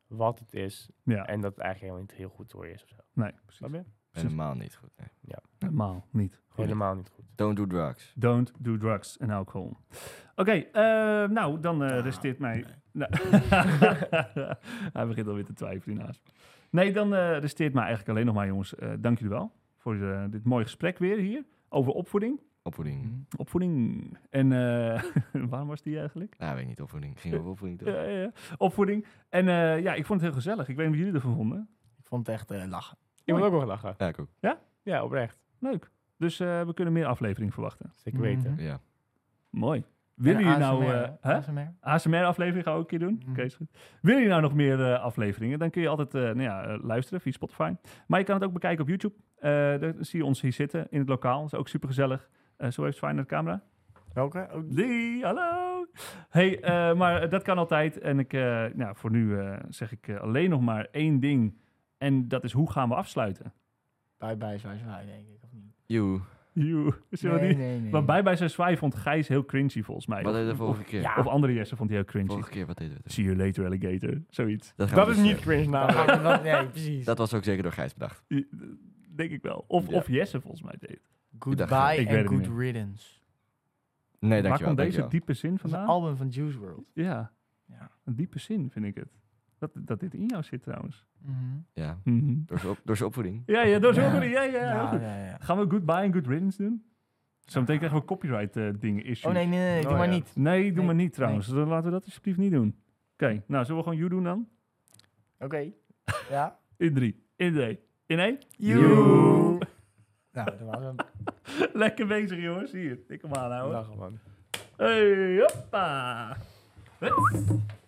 [SPEAKER 5] wat het is
[SPEAKER 2] ja.
[SPEAKER 5] en dat het eigenlijk helemaal niet heel goed voor je is. Of zo.
[SPEAKER 2] Nee, precies.
[SPEAKER 5] Snap je?
[SPEAKER 4] Helemaal niet goed. nee.
[SPEAKER 2] Normaal niet.
[SPEAKER 5] Helemaal niet goed.
[SPEAKER 4] Don't do drugs.
[SPEAKER 2] Don't do drugs and alcohol. Oké, eh, nou, dan eh
[SPEAKER 4] Ah.
[SPEAKER 2] resteert mij... Nou. Hij begint alweer te twijfelen hiernaast. Nee, dan eh, resteert mij eigenlijk alleen nog maar, jongens. eh, dank jullie wel voor eh, dit mooie gesprek weer hier over opvoeding.
[SPEAKER 3] Hmm?
[SPEAKER 4] Opvoeding.
[SPEAKER 2] Opvoeding. En eh, waarom was die eigenlijk?
[SPEAKER 4] Nou, weet ik niet. Opvoeding. Ging over opvoeding toch?
[SPEAKER 2] Ja, ja, ja. Opvoeding. En eh, ja, ik vond het heel gezellig. Ik weet niet wat jullie ervan vonden.
[SPEAKER 3] Ik vond het echt eh, lachen.
[SPEAKER 5] Ik moet ook wel lachen.
[SPEAKER 4] Ja, ik ook.
[SPEAKER 5] Ja, oprecht.
[SPEAKER 2] Leuk. Dus eh, we kunnen meer aflevering verwachten.
[SPEAKER 5] Zeker weten.
[SPEAKER 3] Mhm.
[SPEAKER 4] Ja.
[SPEAKER 2] Mooi. Willen
[SPEAKER 3] En
[SPEAKER 2] jullie nou...
[SPEAKER 3] ASMR,
[SPEAKER 2] eh, hè?
[SPEAKER 3] ASMR?
[SPEAKER 2] ASMR-aflevering gaan we ook een keer doen.
[SPEAKER 3] Mhm.
[SPEAKER 2] Oké, is goed. Wil je nou nog meer eh, afleveringen? Dan kun je altijd eh, nou ja, eh, luisteren via Spotify. Maar je kan het ook bekijken op YouTube. Eh, daar zie je ons hier zitten in het lokaal. Dat is ook super gezellig. zo heeft Swijn naar de camera.
[SPEAKER 3] Welke? Oh,
[SPEAKER 2] Die, hallo. Hey, eh, maar dat kan altijd. En ik, eh, nou, voor nu eh, zeg ik eh, alleen nog maar één ding. En dat is hoe gaan we afsluiten?
[SPEAKER 3] Bye bye, zwaai zwaai, denk ik. Of niet?
[SPEAKER 4] Joe.
[SPEAKER 2] Joe, zullen we
[SPEAKER 3] nee,
[SPEAKER 2] die-
[SPEAKER 3] nee, nee.
[SPEAKER 2] Maar bij bij zijn zwaai vond Gijs heel cringy volgens mij.
[SPEAKER 4] Wat
[SPEAKER 2] Of-
[SPEAKER 4] deden we vorige
[SPEAKER 2] of-
[SPEAKER 4] keer?
[SPEAKER 2] Of andere Jesse vond hij heel cringy.
[SPEAKER 4] Vorige keer, wat deden we toen?
[SPEAKER 2] See you later, alligator. Zoiets.
[SPEAKER 4] gaan we
[SPEAKER 5] Dat is
[SPEAKER 4] dus,
[SPEAKER 5] niet
[SPEAKER 4] eh,
[SPEAKER 5] cringe
[SPEAKER 3] Dan ga
[SPEAKER 5] namelijk.
[SPEAKER 3] ik dat- nee, precies.
[SPEAKER 4] Dat was ook zeker door Gijs bedacht.
[SPEAKER 2] I- Denk ik wel. Of,
[SPEAKER 4] Ja.
[SPEAKER 2] of Jesse volgens mij deed. het.
[SPEAKER 4] dacht-
[SPEAKER 3] Goodbye
[SPEAKER 2] ik weet
[SPEAKER 3] and
[SPEAKER 2] het niet
[SPEAKER 3] good riddance.
[SPEAKER 4] Nee,
[SPEAKER 2] Waar
[SPEAKER 4] dankjewel.
[SPEAKER 2] komt deze
[SPEAKER 4] dankjewel.
[SPEAKER 2] diepe zin
[SPEAKER 3] Dat is een
[SPEAKER 2] vandaan?
[SPEAKER 3] album van Juice World.
[SPEAKER 2] Ja.
[SPEAKER 3] Ja.
[SPEAKER 2] Een diepe zin vind ik het. Dat, dat dit in jou zit trouwens.
[SPEAKER 4] Ja, door zijn op, door zijn opvoeding.
[SPEAKER 2] Ja, ja, dat is
[SPEAKER 3] Ja.
[SPEAKER 2] ook goed. Ja, ja, heel
[SPEAKER 3] Ja,
[SPEAKER 2] goed.
[SPEAKER 3] ja, ja.
[SPEAKER 2] Gaan we goodbye en good riddance doen? Zometeen krijgen we copyright eh, dingen, issues.
[SPEAKER 3] Oh nee, nee, nee, doe
[SPEAKER 5] Oh,
[SPEAKER 3] maar
[SPEAKER 5] ja.
[SPEAKER 3] niet.
[SPEAKER 2] Nee, doe
[SPEAKER 3] Nee,
[SPEAKER 2] maar niet trouwens. Dan laten we dat alsjeblieft niet doen. Oké, nou zullen we gewoon you doen dan?
[SPEAKER 3] Oké. Ja?
[SPEAKER 2] In drie, in twee, in één.
[SPEAKER 3] You. Nou, dat was hem.
[SPEAKER 2] Lekker bezig jongens,
[SPEAKER 5] nou
[SPEAKER 3] Nou.
[SPEAKER 2] hier. Ik hem aanhouden.
[SPEAKER 5] Lachen, man.
[SPEAKER 2] Hey, hoppa. Hup.